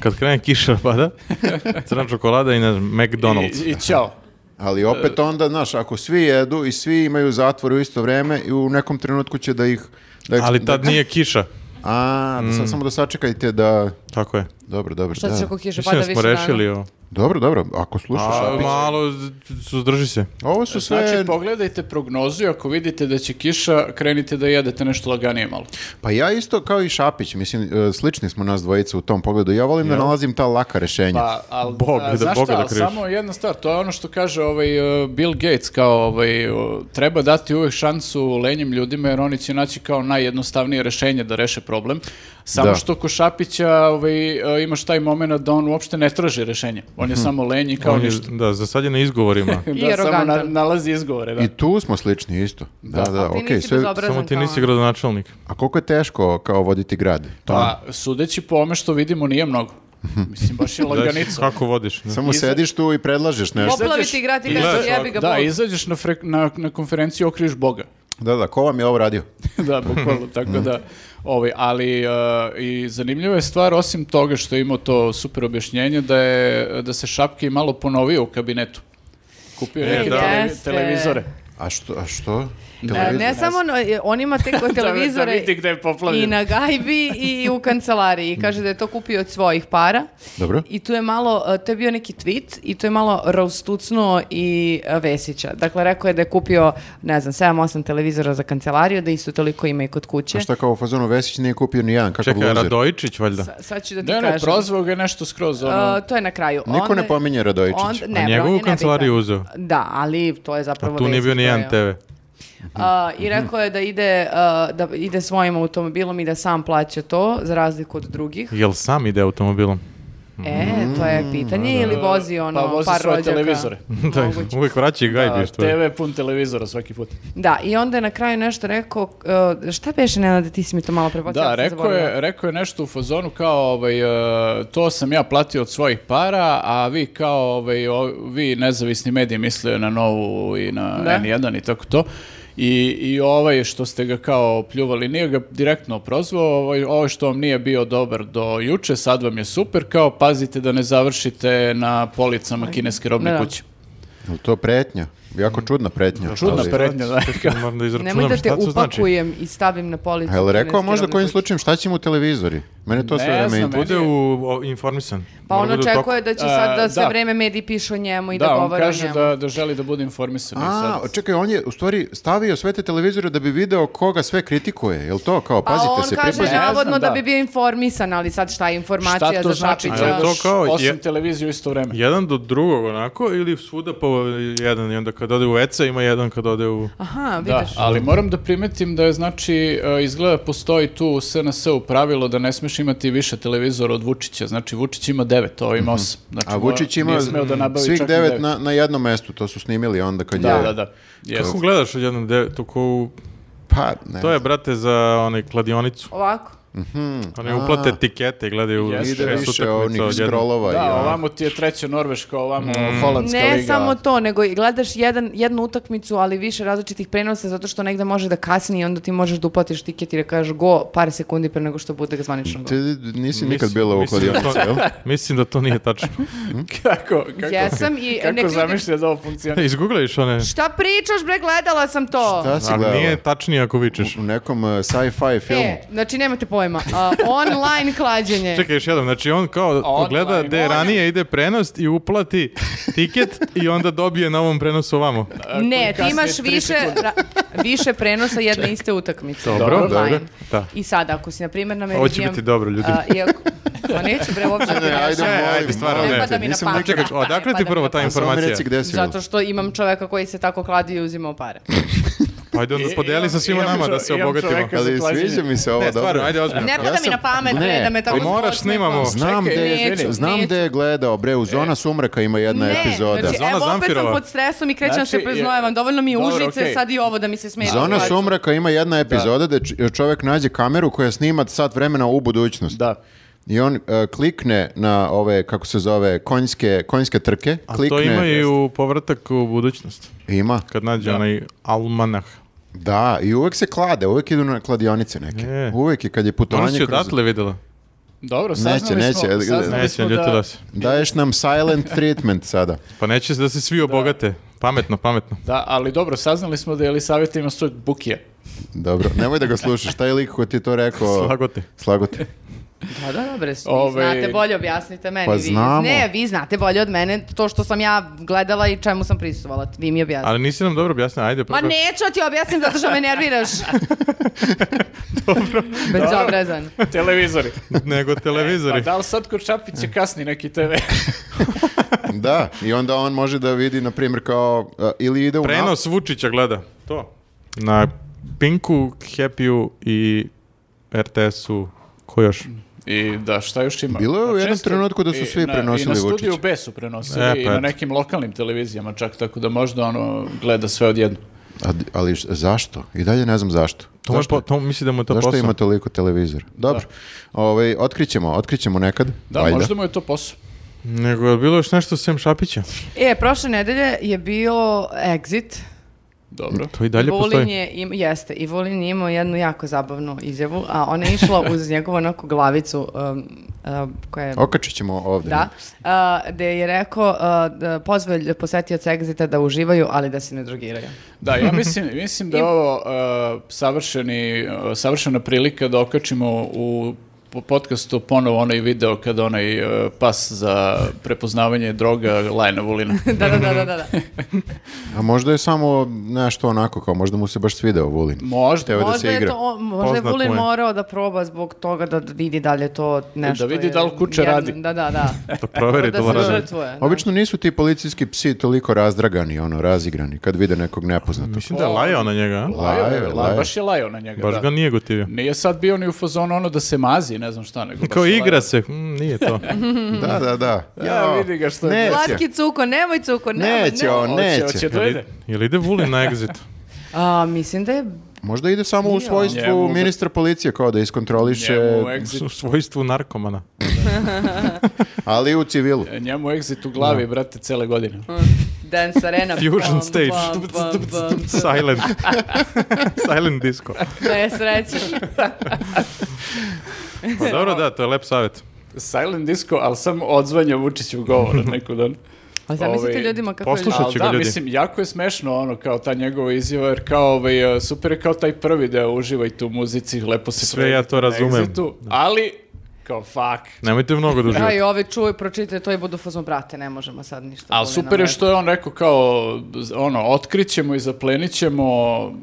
Kad krene kiša pa da pada, crna čokolada i ne znam, McDonald's. I, i ćao. Ali E- opet onda, znaš, ako svi jedu i svi imaju zatvor u isto vreme i u nekom trenutku će da ih... Da, Ali tad Mm. nije kiša. A, da sad samo da sačekajte da... Tako je. Dobro, dobro. Šta da. će ako kiša Mislim pada da više smo rešili dana? ovo. Dobro, dobro, ako slušaš... A, e, Šapić. malo, z- suzdrži se. Ovo su sve... Znači, pogledajte prognozu i ako vidite da će kiša, krenite da jedete nešto laganije malo. Pa ja isto kao i Šapić, mislim, e, slični smo nas dvojica u tom pogledu. Ja volim da nalazim ta laka rešenja. Pa, al, Bog, a, da znaš Boga šta, da al kriviš. samo jedna stvar, to je ono što kaže ovaj, uh, Bill Gates, kao ovaj, uh, treba dati uvek šansu lenjim ljudima, jer oni će naći kao najjednostavnije rešenje da reše problem. Samo Da. što kod Šapića ovaj, uh, imaš taj moment da on uopšte ne traži rešenje. On je samo lenji i kao Hm. On je- ništa. da, za sad je na [LAUGHS] izgovorima. I Da, samo na- arogantan. nalazi izgovore. Da. I tu smo slični isto. Da, da, A ti okej, nisi sve- bezobrazan Samo ti kao ono. nisi on. gradonačelnik. A koliko je teško kao voditi grad? Pa, sudeći po ome što vidimo, nije mnogo. Mislim, baš je Da, laganica. Hm. kako vodiš? da. Samo Iza- sediš tu i predlažeš nešto. Iza- Poplaviti grad i Izađeš- kaže jebi ga Da, Bog. izađeš na, frek- na, na konferenciju i okriš Boga. Da, da, ko vam je ovo radio? [LAUGHS] da, bukvalno, tako da, ovaj, ali uh, i zanimljiva je stvar, osim toga što je imao to super objašnjenje, da, je, da se Šapke i malo ponovio u kabinetu. Kupio je neke da. tele- Jeste. televizore. A što? A što? E, Televizor? ne samo on, on ima te koje Da- televizore Da, vidi gde je poplavljen. i na gajbi i u kancelariji. I Kaže da je to kupio od svojih para. Dobro. I tu je malo, e, to je bio neki tweet i to je malo raustucnuo i e, Vesića. Dakle, rekao je da je kupio, ne znam, 7-8 televizora za kancelariju, da isto toliko ima i kod kuće. A šta kao u fazonu Vesić nije kupio ni jedan, kakav Čekaj, loser. Radojičić valjda. Sa- Sad ću da ti Ne, ne, kažem. prozvao ga je nešto skroz, ono, E, to je na kraju. Niko ne pominje Radojičića. onda- A bro, njegovu on je nebitan. kancelariju uzeo. Da, ali to je zapravo A tu nije Vesić, bio to ni je jedan on. TV. A, I rekao je da ide, a, da ide svojim automobilom i da sam plaća to, za razliku od drugih. Jel sam ide automobilom? E, to je pitanje, ili vozi ono pa vozi par svoje rođaka? televizore. da, Moguće. uvek vraća i gajbi A, što je. TV pun televizora svaki put. Da, i onda je na kraju nešto rekao, e, šta beše Nenade, ti si mi to malo prepocio. Da, rekao je, rekao je nešto u fazonu kao ovaj, e, to sam ja platio od svojih para, a vi kao ovaj, o- vi nezavisni mediji misle na Novu i na Da. N1 i tako to. I, I ovaj što ste ga kao pljuvali, nije ga direktno prozvao, ovaj, ovaj što vam nije bio dobar do juče, sad vam je super, kao pazite da ne završite na policama kineske robne Da. kuće. Jel to pretnja? Jako čudna pretnja. Čudna ali- prednja, da. Čekaj, moram da Nemoj izračunam da te šta to znači. upakujem i stavim na policu. A Jel rekao kineske možda robne kojim kuće. slučajem šta će mu televizori? Mene to sve Ne vreme znam, interesuje. Bude u, o, informisan. Pa Mora on bude u toku. očekuje da će sad da A, sve E, da. vreme mediji pišu o njemu i da, Da, on govore o kaže njemu. da, da želi da bude informisan. i A, E sad- čekaj, on je u stvari stavio sve te televizore da bi video koga sve kritikuje. Jel to kao, Pa pazite on se, kaže pripazite. Ne znam, navodno da. da. bi bio informisan, ali sad šta je informacija Šta to za znači? Šapića? A je to Gledaš kao- osam je- televizija u isto vreme. Jedan do drugog onako ili svuda po jedan i onda kad ode u ECA ima jedan kad ode u... Aha, Da, vidiš. ali moram da primetim da je znači e, izgleda postoji tu u SNS-u pravilo da ne smeš imati više televizora od Vučića. Znači Vučić ima devet, ovo ima osam. Znači, Mhm. A Vučić mora- ima nije smeo da nabavi svih čak ni devet na, na jednom mestu, to su snimili onda kad Da, je... da, da. Jeste. Kako gledaš od jednom de... to ko u- Pa, ne. To je, brate, za onaj kladionicu. Ovako. One uplate etikete i gledaju Jeste. šest Ide više utakmica onih odjednom. scrollova. i Da, ono. ovamo ti je treća Norveška, ovamo Mhm. Holandska Ne liga. samo to, nego i gledaš jedan, jednu utakmicu, ali više različitih prenosa, zato što negde može da kasni i onda ti možeš da uplatiš tiket i da kažeš go par sekundi pre nego što bude zvanično go. Ti nisi Mislim- nikad bila u mislim da kladionici, to- jel? [LAUGHS] Mislim da to nije [LAUGHS] tačno. [LAUGHS] Kako, kako, Jesam i nek kako ljudi- zamišlja da ovo funkcioniše? Izgooglaiš one... Šta pričaš bre, gledala sam to. Šta si Ali gledala? nije tačnije ako vičeš. U nekom uh, sci-fi filmu. E, znači nemate pojma. A, online klađenje. Čekaj još jednom, znači on kao Online, gleda gde je online. ranije ide prenos i uplati tiket i onda dobije na ovom [LAUGHS] prenosu ovamo. ne, ti kasnije imaš tri više, sekunde. ra- više prenosa jedne iste utakmice. Dobro, Online. dobro, da. I sad, ako si, na primjer, na Ovo će biti dobro, ljudi. A, iako, pa neće bre, uopšte ti Ne, ne ajde, znam. molim, ajde, stvarno molim ne. te, Pada mi na nisam pamet. nikad- Čekaj, odakle ti prvo A ta samo mi informacija? reci gde si bila. Zato što imam čoveka koji se tako kladio i uzimao pare. Pa ajde onda podeli sa svima nama da se obogatimo. Ja Ali se plašim. sviđa mi se ovo, Ne, dobro. stvarno, ajde ozbiljno. Ne Ja pada mi sam- na pamet, Ne, bre, da me tako pa moraš, zbocne. snimamo. Znam Čekaj, gde je, neću, znam neću. gde je gledao, bre, u Zona Sumraka ima jedna Ne, epizoda. znači, Zona evo opet sam Zamfirova. pod stresom i krećem da se Znači, je- preznojavam. Dovoljno mi je Dobro, užice, okej. sad i ovo da mi se smije. Zona situacija. Sumraka ima jedna epizoda da. gde čovjek nađe kameru koja snima sat vremena u budućnost. Da. I on e, klikne na ove, kako se zove, konjske, konjske trke. A klikne, to ima i u povratak u budućnost. Ima. Kad nađe Da. onaj almanah. Da, i uvek se klade, uvek idu na kladionice neke. Je. Uvek je kad je Ona si putovanje kroz... E. odatle videla. Dobro, saznali smo. neće, saznali smo Neće, ljutila se. Daješ nam silent treatment sada. Pa neće se da se svi obogate. Pametno, pametno. Da, ali dobro, saznali smo da je Elisaveta ima svog [LAUGHS] bukija. Dobro, nemoj da ga slušaš, taj lik ko ti je to rekao... Slagote. Slagote. Da, da, da, bre, vi Ove- znate bolje, objasnite meni. Pa vi. znamo. Ne, vi znate bolje od mene to što sam ja gledala i čemu sam prisustvovala. Vi mi objasnite. Ali nisi nam dobro objasnila, ajde. Ma prvo. neću ti objasnim zato što me nerviraš. Dobro. Bezobrazan. Televizori. [LAUGHS] Nego Pa [LAUGHS] televizori. da li sad kod Čapić je kasni neki TV? [LAUGHS] Da, i onda on može da vidi, na primjer, kao... e, ili ide u... nap- Prenos Vučića gleda. To. Na Pinku, Happy-u i RTS-u. Ko još? I da, šta još ima? Bilo je u Pa jednom često- trenutku da su i svi na- prenosili I na studiju Vučića. B su prenosili E, pa i na eto. nekim lokalnim televizijama čak, tako da možda ono gleda sve odjedno. A di- ali š- zašto? I dalje ne znam zašto. To, mu je zašto po, to misli da mu je to zašto posao. ima toliko televizora? Dobro. Ovaj, otkrićemo, otkrićemo nekad. Da, valjda. možda mu je to posao. Nego je bilo još nešto sem Šapića? E, prošle nedelje je bio exit. Dobro. To i dalje Vulin postoji. je im- jeste, i Vulin je imao jednu jako zabavnu izjavu, a ona je išla uz njegovu onako glavicu um, um, koja je... Okačit ćemo ovdje. Da, uh, gde je rekao, uh, da pozvao je posetioce Exita da uživaju, ali da se ne drogiraju. [LAUGHS] Da, ja mislim, mislim da je ovo uh, savršeni, uh, savršena prilika da okačimo u po- podcastu ponovo onaj video kada onaj uh, pas za prepoznavanje droga Lajna Vulina. da, da, da, da, da. A možda je samo nešto onako, kao možda mu se baš svideo Vulin. Možda, Evo da Možda se je, igra. to, on- možda je Poznat Vulin mu je. morao da proba zbog toga da vidi da li je to nešto... Da vidi je- da li kuća jedno- radi. Da, da, da. To Pa proveri da da se radi. žrtvuje. da. Obično nisu ti policijski psi toliko razdragani, ono, razigrani, kad vide nekog nepoznatog. Mislim da je lajao na njega, a? Lajao je, Laje, la- laje. baš je lajao na njega. Baš da. ga nije gotivio. Nije sad bio ni u fazonu ono da se mazi, ne znam šta, nego baš Kao je lajao. igra se, mm, nije to. Da, da, da. [LAUGHS] Ja, vidi ga što je- neće. Mhm. Slatki cuko, nemoj cuko, nemoj, Neće nemoj. on, Hoće, neće. hoće da ide. Jel ide Vulin na exit? A, mislim da je... Možda ide samo u svojstvu Njemu- ministra policije, kao da iskontroliše, Njemu U exit, svojstvu [LAUGHS] narkomana. ali u civilu. njemu exit u glavi, brate, cele godine. Dan Arena. Fusion Bam, stage. bam, [LAUGHS] bam, bam. [LAUGHS] Silent. Silent disco. Ne, sreće. [LAUGHS] Pa dobro, da, to je lep savjet. Silent disco, ali samo odzvanja Vučiću govora [LAUGHS] neko dan. A zamislite Ovaj, ljudima kako je... poslušaj. Slušat Al će da, ga ljudi. mislim, jako je smešno ono, kao ta njegova izjava, jer kao ovaj, e, super je kao taj prvi deo, uživajte u muzici, lepo se Sve ja to provedite na razumem. Exitu, Ali, kao, fuck. Nemojte mnogo da Ja i uživate. ove čuje, pročite to i budu fazom, brate, ne možemo sad ništa. Ali Vulina, super je brate. što je on rekao kao, z- ono, otkrićemo i zaplenićemo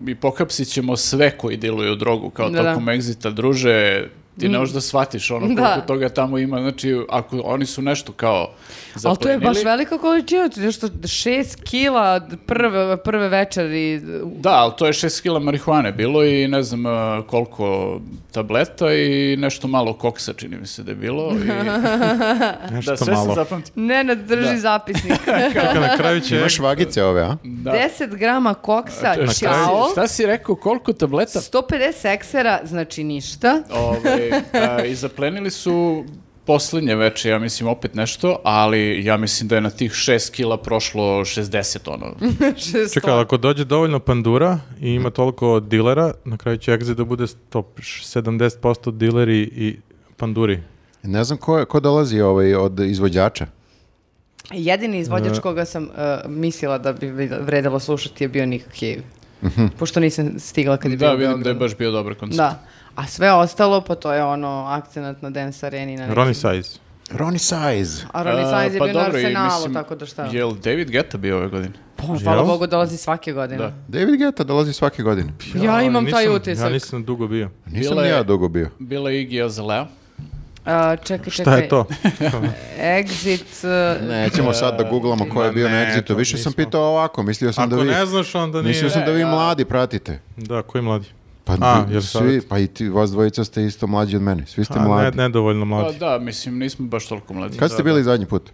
i pohapsit ćemo sve koji diluju drogu, kao Da, da. tokom egzita, druže, ti ne možeš da shvatiš ono koliko Da. toga tamo ima, znači ako oni su nešto kao Ali to zaplenili. je baš velika količina, to je nešto šest kila prve, prve večeri. Da, ali to je 6 kila marihuane bilo i ne znam e, koliko tableta i nešto malo koksa čini mi se da je bilo. [LAUGHS] I, da, Nešto sve sam malo. zapamtio. Nenad drži zapisnik. [LAUGHS] Kako na kraju će... Imaš vagice ove, a? Da. E, 10 grama koksa, na kraju- čao. Šta si rekao, koliko tableta? 150 eksera, znači ništa. [LAUGHS] Ovaj, e, I zaplenili su posljednje veče, ja mislim, opet nešto, ali ja mislim da je na tih 6 kila prošlo 60, [LAUGHS] ono. Šesto. Čekaj, ali ako dođe dovoljno pandura i ima toliko dilera, na kraju će exit da bude top 70% dileri i panduri. Ne znam ko, je- ko dolazi ovaj od izvođača. Jedini izvođač koga sam uh, mislila da bi vredalo slušati je bio Nick Cave. Pošto nisam stigla kad je bio Mhm. Da, u vidim da je Beogradu. baš bio dobar koncert. Da. A sve ostalo, pa to je ono akcenat na dance areni. Na Ronnie nekim- Size. Ronnie Size. A Ronnie E, Sainz je pa bio na dobro, i Arsenalu, mislim, tako da šta. Jel David Guetta bio ove godine? Pa, hvala Jel? Bogu, dolazi svake godine. Da. David Guetta dolazi svake godine. Ja imam taj nisam- utisak. Ja nisam dugo bio. Nisam Bila ni je- ja dugo bio. Bila je Iggy Azalea. A, E, čekaj, čekaj. Šta je to? Exit... e, Nećemo sad da googlamo ko je E, Ma bio na ne, Exitu. to Više sam nismo. pitao ovako, mislio sam Ako da vi... ne znaš, onda nije... Mislio sam da vi mladi pratite. Da, koji mladi? Pa, A, vi- jer svi, sad- pa i ti, vas dvojica ste isto mlađi od mene. Svi ste A, ne, mladi. nedovoljno Pa mladi. da, mislim, nismo baš toliko mladi. Kad ste bili zadnji put?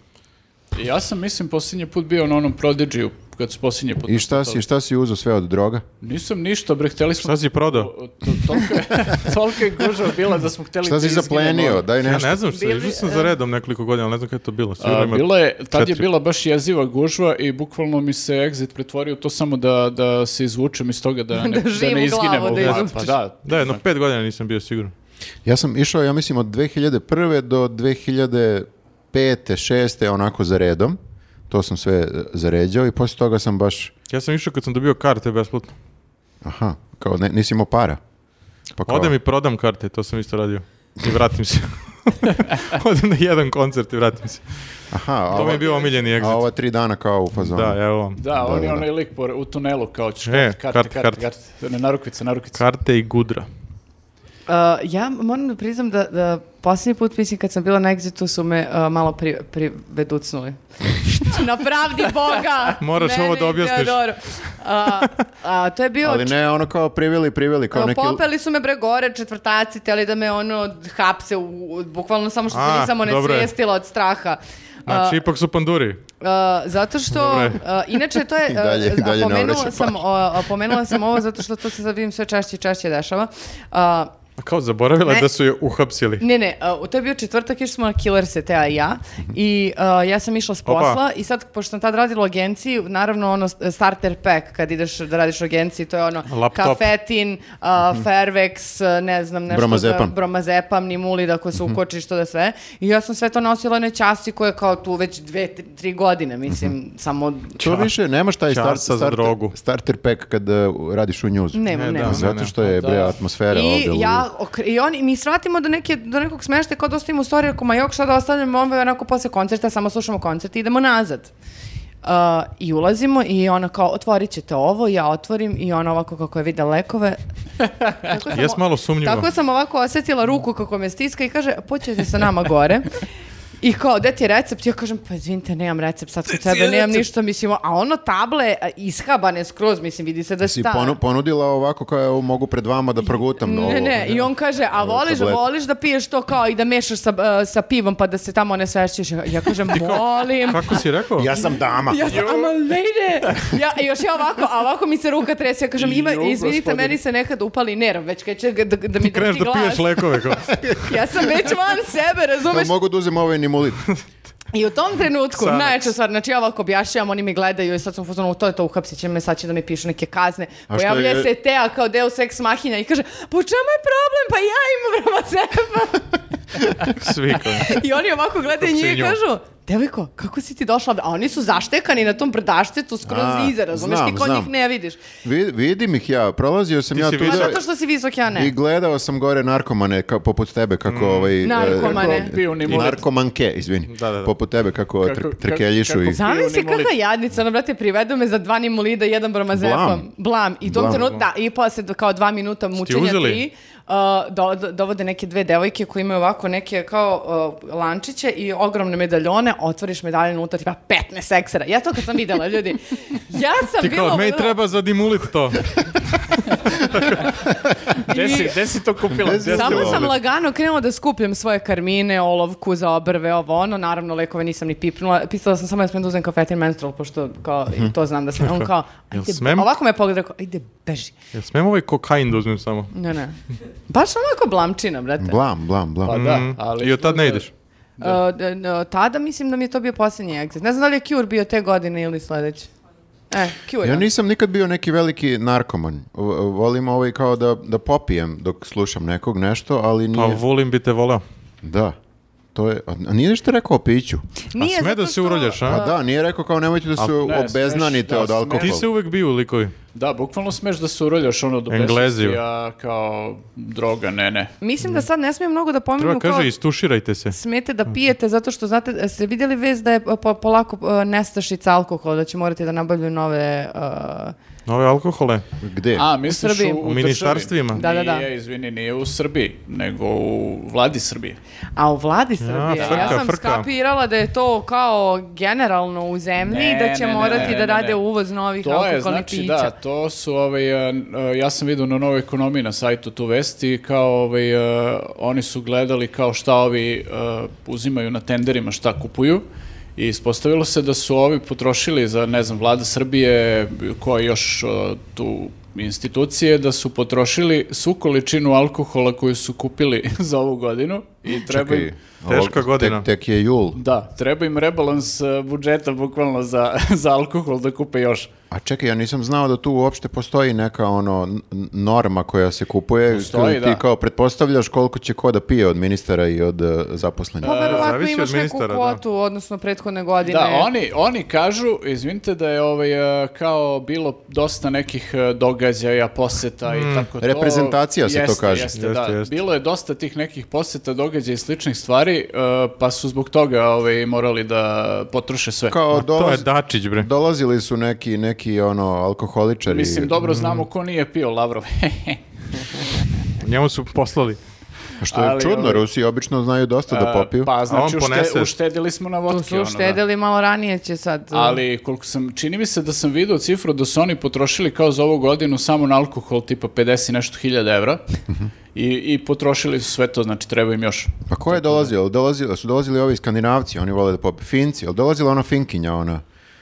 Ja sam, mislim, posljednji put bio na onom Prodigy-u, kad su posljednji put... I šta si, nastupali. šta si uzeo sve od droga? Nisam ništa, bre, hteli smo... Šta si prodao? To- to- Tolika je- [LAUGHS] tolika je gužva bila da smo hteli... Šta da si izginemo. zaplenio? Daj Ja nešto. ne znam što, Bili- e. išao sam za redom nekoliko godina, ali ne znam kada je to bilo. A, Sigurno ima bila je, tad je četiri. bila baš jeziva gužva i bukvalno mi se exit pretvorio u to samo da, da se izvučem iz [LAUGHS] toga da ne, da živim ne u glavu, izginemo. da Pa, izvučeš. pa da, Da, jedno pet godina nisam bio siguran. Ja sam išao, ja mislim, od 2001. do 2005. 6. onako za redom. To sam sve e, zaređao i poslije toga sam baš, Ja sam išao kad sam dobio karte besplatno. aha, kao ne, nisi imao para. Pa kao, Odem i prodam karte, to sam isto radio. I vratim [LAUGHS] se. Odem na jedan koncert i vratim se. aha, a To mi ova, je bio omiljeni a exit. ova tri dana kao u fazonu. Da, evo vam. da, on da, je da. onaj lik por- u tunelu kao ćeš E, karte, karte, karte, karte, karte. karte. Ne, narukvice, narukvice. Karte i gudra. Uh, ja moram da priznam da, da posljednji put, mislim, kad sam bila na Exitu su me uh, malo pri, priveducnuli. na pravdi Boga! [LAUGHS] Moraš mene ovo da i objasniš. Teodoru. A, a, to je bio... Ali ne, ono kao priveli, priveli, kao Kao neki... Popeli su me bre gore, četvrtaci, teli da me ono hapse, u, u- bukvalno samo što se A, nisam dobro je. onesvijestila od straha. Znači, ipak su panduri. Uh, zato što, Dobro je. uh, inače [LAUGHS] to je, I dalje- i uh, dalje ne pomenula, obraća sam, uh, uh, pomenula sam ovo zato što to se sad vidim sve češće i češće dešava. Uh, A Kao zaboravila Ne. da su je uhapsili. Ne, ne, uh, to je bio četvrtak, išli smo na Killer Setea i ja i uh, ja sam išla s Opa. posla i sad, pošto sam tad radila u agenciji, naravno ono s- starter pack kad ideš da radiš u agenciji, to je ono Laptop. Mhm. kafetin, uh, Fairvex, uh, ne znam, nešto Bromazepam. za bromazepam, ni mulid ako Mhm. se ukočiš, to da sve. I ja sam sve to nosila onoj časti koja je kao tu već dve, tri, tri godine, mislim, Mhm. samo... To više, nemaš taj Časa star, za starter- drogu. starter pack kad e, radiš u njuzu. Nemam, Ne, da, nemam. ne, Zato što je, bre, Da. atmosfera I ovdje. ja, okre- i oni, mi svratimo do, neke, do nekog smešta kao da ostavimo storiju, ako ma jok šta da ostavljamo ovaj onako posle koncerta, samo slušamo koncert i idemo nazad. Uh, I ulazimo i ona kao, otvorit ćete ovo, ja otvorim i ona ovako kako je videla lekove. Tako sam Jes o- malo sumnjivo. Tako sam ovako osjetila ruku kako me stiska i kaže, poćete sa nama gore. I kao, gde ti je recept? Ja kažem, pa izvinite, nemam recept sad kod sebe, nemam ništa, mislim, a ono table a, ishabane skroz, mislim, vidi se da si stara. ponu- ponudila ovako kao evo, mogu pred vama da progutam ovo. Ne, ne, i on kaže, a voliš, tablet. voliš da piješ to kao i da mešaš sa, e, sa pivom pa da se tamo ne svešćeš. Ja, ja kažem, molim. Kako si rekao? Ja sam dama. [LAUGHS] Ja sam, ama lejde. Ja, i još ja ovako, a ovako mi se ruka trese. Ja kažem, ima, Jo, izvinite, gospodine. meni se nekad upali nerv, već kad će ga- da, da mi Kreneš drži da glas. piješ lekove. Kao. ja sam već van sebe, razumeš? mogu da uzem ovaj nimulit. I u tom trenutku, Sanac. najjača stvar, znači ja ovako objašnjavam, oni mi gledaju i sad sam u fazonu, to je to, uhapsit će me, sad će da mi pišu neke kazne. što Pojavlja je- se Teja kao deo seks mahinja i kaže, po čemu je problem, pa ja imam bromazepam. Svi [LAUGHS] kao. [LAUGHS] I oni ovako gledaju njih i Sinjo. kažu, devojko, kako si ti došla? ovde?" A oni su zaštekani na tom brdašcetu skroz A, iza, razumeš, znam, ti kod znam. njih ne vidiš. Vi, vidim ih ja, prolazio sam Ti ja si tu Pa vidio? da- zato što si visok, ja ne. i gledao sam gore narkomane ka, poput tebe kako Mm. ovaj... e, Narkomane. kako- Piju ni mulet. narkomanke, izvini. Da, da, da. Poput tebe kako, Kako- tr- kako- trkeljišu i... kako- Zamisli Piju Nimolit. kakva jadnica, ono, brate, privedu me za dva Nimolida i jedan bromazepam. Blam. Blam. I tom Blam. trenutku, da, i posle do- kao dva minuta mučenja uzeli? tri, uh, do- do- dovode neke dve devojke koje imaju ovako neke kao uh, lančiće i ogromne medaljone, otvoriš medalje unutra, tipa 15 eksera. Ja to kad sam videla, ljudi. Ja sam Ti bila... kao, meni ono- treba za dimulit to. Gde si, gde si to kupila? Gde si Samo to- sam lagano krenula da skupljam svoje karmine, olovku za obrve, ovo ono. Naravno, lekove nisam ni pipnula. Pisala sam samo da smem da uzem kafetin menstrual, pošto kao, i to znam da sam. [LAUGHS] On kao, Mhm. Pa, Jel ajde, smem? ovako me pogleda, rekao, ajde, beži. Jel smem ovaj kokain da uzmem samo? Ne, ne. Baš onako blamčina, brate. Blam, blam, blam. Pa da, Mm, ali... I od tad ne ideš. Uh, d- n- tada mislim da mi je to bio posljednji exit. Ne znam da li je Cure bio te godine ili sledeće. E, Cure. Ja nisam nikad bio neki veliki narkoman. V- Volim ovaj kao da, da popijem dok slušam nekog nešto, ali Pa nije... volim bi te voleo. Da. To je, a a nije ništa rekao o piću. Nije, A sme zato da što- se uroljaš, a? Pa da, nije rekao kao nemojte da se ne, smeš, obeznanite da, od smeš. alkohola. Ti se uvek bio likovi. Da, bukvalno smeš da se uroljaš ono do Engleziju. besvesti, a kao droga, ne, ne. Mislim da sad ne smijem mnogo da pomenu Treba kao kaže istuširajte se. smete Mhm. da pijete zato što znate ste vidjeli vez da je e, po- polako e, nestašica alkohola da će morati da nabavljaju nove e, Nove alkohole. Gde? A, misliš u, Srbiji. u, U državi? ministarstvima? Da, da, da. Nije, izvini, nije u Srbiji, nego u vladi Srbije. A u vladi Srbije, ja, frka, sam frka. skapirala da je to kao generalno u zemlji Ne, i da će ne, ne, morati ne, da ne, rade ne. uvoz novih To je, alkoholnih znači, pića. da, to su, ovaj, e, e, ja sam vidio na Novoj ekonomiji na sajtu tu vesti, i kao, ovaj, e, oni su gledali kao šta ovi e, uzimaju na tenderima, šta kupuju, i ispostavilo se da su ovi potrošili za, ne znam, vlada Srbije, koja još e, tu institucije, da su potrošili svu količinu alkohola koju su kupili [LAUGHS] za ovu godinu i treba im- Čekaj, ovo- Teška godina. Tek, tek je jul. Da, treba im rebalans e, budžeta bukvalno za, [LAUGHS] za alkohol da kupe još. A čekaj, ja nisam znao da tu uopšte postoji neka ono n- n- norma koja se kupuje. Postoji, Ti da. kao pretpostavljaš koliko će ko da pije od ministara i od e, zaposlenih. Pa verovatno zavisi od imaš neku ministara, da. kvotu, odnosno prethodne godine. Da, oni, oni kažu, izvinite, da je ovaj, e, kao bilo dosta nekih e, događaja, poseta i tako to. Mm. Reprezentacija se to Jeste, kaže. Jeste, Jeste, da. jeste. Bilo je dosta tih nekih poseta, događaja i sličnih stvari, e, pa su zbog toga ovaj, morali da potroše sve. Kao To je dolaz- Dačić, bre. dolazili su neki, neki ono alkoholičari. Mislim, dobro Mm. znamo ko nije pio Lavrov. [LAUGHS] Njemu su poslali. Pa Što je ali, čudno, ovaj, Rusi obično znaju dosta da popiju. Pa, znači, on ponese. ušte, uštedili smo na To vodki. su ono, da. uštedeli malo ranije će sad. Ali koliko sam, čini mi se da sam vidio cifru da su oni potrošili kao za ovu godinu samo na alkohol tipa 50 i nešto hiljada evra i, i potrošili su sve to, znači treba im još. Pa ko je dolazio? Jel dolazio- su dolazili ovi skandinavci, oni vole da popiju. Finci, jel dolazila ona finkinja ona?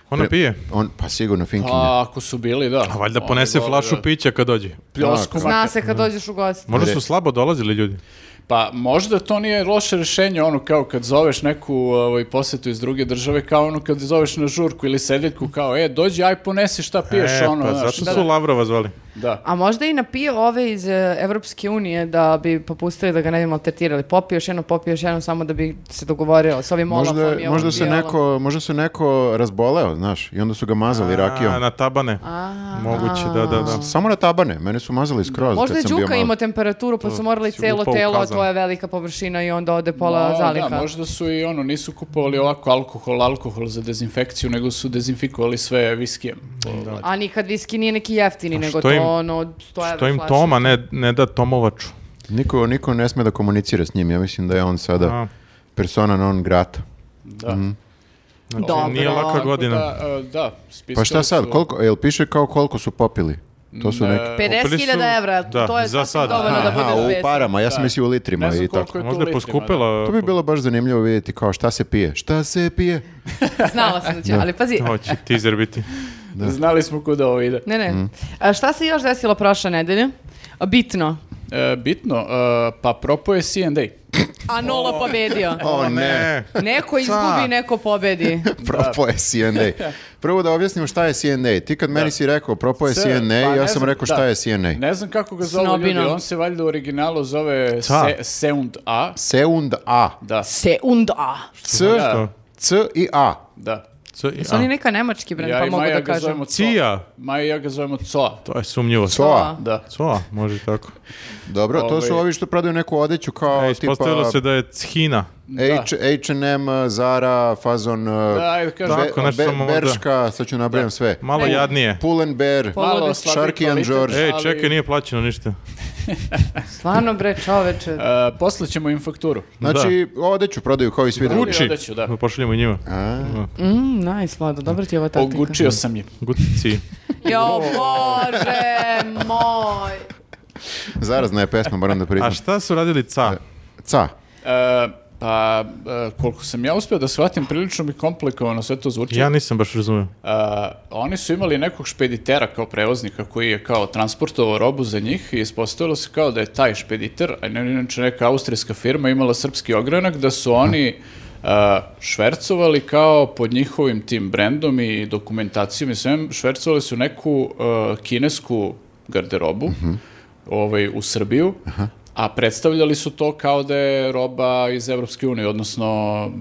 Ona Pre- pije. On, pa sigurno finkinja. A ako su bili, da. A valjda ponese flašu pića kad dođe. Pljosku Zna makar. se Mhm. kad dođeš u gost. Možda su slabo dolazili ljudi. Pa možda to nije loše rješenje, ono kao kad zoveš neku ovaj, posetu iz druge države, kao ono kad zoveš na žurku ili sedeljku, kao e, dođi, aj ponesi šta piješ, e, ono, pa znaš, zato da, su Lavrova zvali. da. A možda i napije ove iz e, Evropske unije da bi popustili da ga ne bi maltretirali. Popi još jedno, popi još jedno, samo da bi se dogovorio s ovim Možda, olafom i ovom možda, se violom. neko, možda se neko razboleo, znaš, i onda su ga mazali rakijom. A, na tabane. Moguće, da, da, da. Samo na tabane, mene su mazali skroz Možda kad je sam bio Đuka mali. imao temperaturu pa su morali si celo upao u telo, a kazan. to je velika površina i onda ode pola Ma, zaliha. Da, možda su i ono, nisu kupovali ovako alkohol, alkohol za dezinfekciju, nego su dezinfikovali sve Ovaj, viskijem. A nikad viski nije neki jeftini, nego što to im- ono 100 To evra im flaša. Toma ne, ne da Tomovaču. Niko, niko ne sme da komunicira s njim, ja mislim da je on sada A. persona non grata. Da. Mhm. Znači, Dobro. nije laka Tako godina. Da, e, da, spisali Pa šta sad, su- koliko, jel piše kao koliko su popili? To su Ne, neki... Kupili su- 50.000 evra, da, to je za sasvim sad. dovoljno da Aha, bude u dvesta. parama, ja sam Da. mislio u litrima Ne znam i koliko tako. je to Možda je litrima, poskupila. To bi [LAUGHS] bilo baš zanimljivo vidjeti kao šta se pije. Šta se pije? [LAUGHS] Znala sam da će, ali pazi. To će teaser biti. da. Znali smo kuda ovo ide. Ne, ne. A šta se još desilo prošle nedelje? A, Bitno. E, bitno, e, pa propo je C&A. Pa A Nola pobedio. O Ne. Neko izgubi, neko pobedi. Propo je CNA. Prvo da objasnim šta je CNA. Ti kad meni si rekao propo je C- CNA, pa ja sam ne znam, rekao da. šta je CNA. Ne znam kako ga zovu ljudi, Snobino. on se valjda u originalu zove Ca. se, Sound A. Seund A. Da, Seunda. C, Da. C i A. da. Co, i- Su oni a, neka nemački brend, Ja pa i mogu Maja da ga kažem. zovemo Co. Cija. Maja i ja ga zovemo Co. to je sumnjivo. Coa. Da. Coa, može tako. Dobro, to su Ovaj- ovi što prodaju neku odeću kao E, tipa ispostavilo se da je China. H, H&M, Zara, fazon, e, Da, ajde kažem. be- Tako, nešto be- samo možda. Berška, sad ću nabrajam sve. Malo jadnije. Pull and Bear, Malo Malo slabiji Sharky and kvalitet, George. Ej, ali, E, čekaj, nije plaćeno ništa. Stvarno bre, čoveče. e, poslaćemo im fakturu. Znači, odeću prodaju kao i svi drugi. Gucci. odeću, da. Pošaljemo i njima. Mm, nice, Vlado, dobra ti je ova taktika. Ogučio sam je. Gucci. Jo, bože moj. Zarazna je pesma, moram da A priznam. šta su radili ca? Ca. E, pa, e, koliko sam ja uspio da shvatim, prilično mi komplikovano sve to zvuči. Ja nisam baš razumio. E, oni su imali nekog špeditera kao prevoznika koji je kao transportovao robu za njih i ispostavilo se kao da je taj špediter, a ne inače neka austrijska firma imala srpski ogranak, da su oni e, švercovali kao pod njihovim tim brendom i dokumentacijom i svem, švercovali su neku e, kinesku garderobu ovaj, u Srbiju, a predstavljali su to kao da je roba iz Evropske unije, odnosno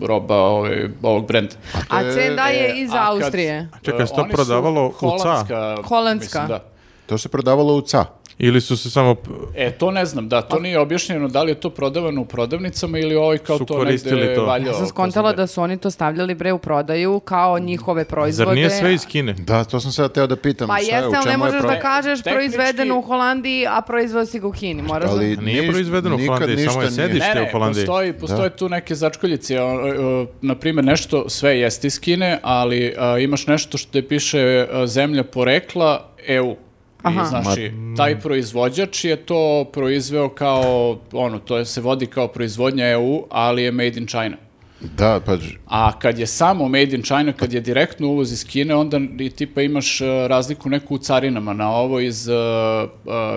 roba ovaj, ovog brenda. A C da je E, iz a kad- Austrije. Čekaj, E, se to oni su prodavalo u holandska, Holandska. Mislim, da. To se prodavalo u ca. Ili su se samo p- E, to ne znam, da, Pa- to nije objašnjeno da li je to prodavano u prodavnicama ili ovaj kao Su to koristili negde to. valjao. Ja sam kroz skontala sebe. da su oni to stavljali bre u prodaju kao njihove proizvode. Zar nije sve iz Kine? Da, to sam sad teo da pitam. Pa šta je, u jeste, ali čemu ne je možeš da problem? kažeš Tehnički- proizvedeno u Holandiji, a proizveo si ga u Kini. Moraš da- Ali Nije niš- proizvedeno u nikad Holandiji, ništa samo je nije. sedište Ne, u ne, Holandiji. postoji, postoje tu neke začkoljice. o, o, o, Naprimjer, nešto sve jeste iz Kine, ali a, imaš nešto što te piše a, zemlja porekla EU. Aha. I, znači, mm. taj proizvođač je to proizveo kao, ono, to je- se vodi kao proizvodnja EU, ali je made in China. Da, pa ž- A kad je samo made in China, kad je direktno uvoz iz Kine, onda i tipa imaš e, razliku neku u carinama. Na ovo iz e,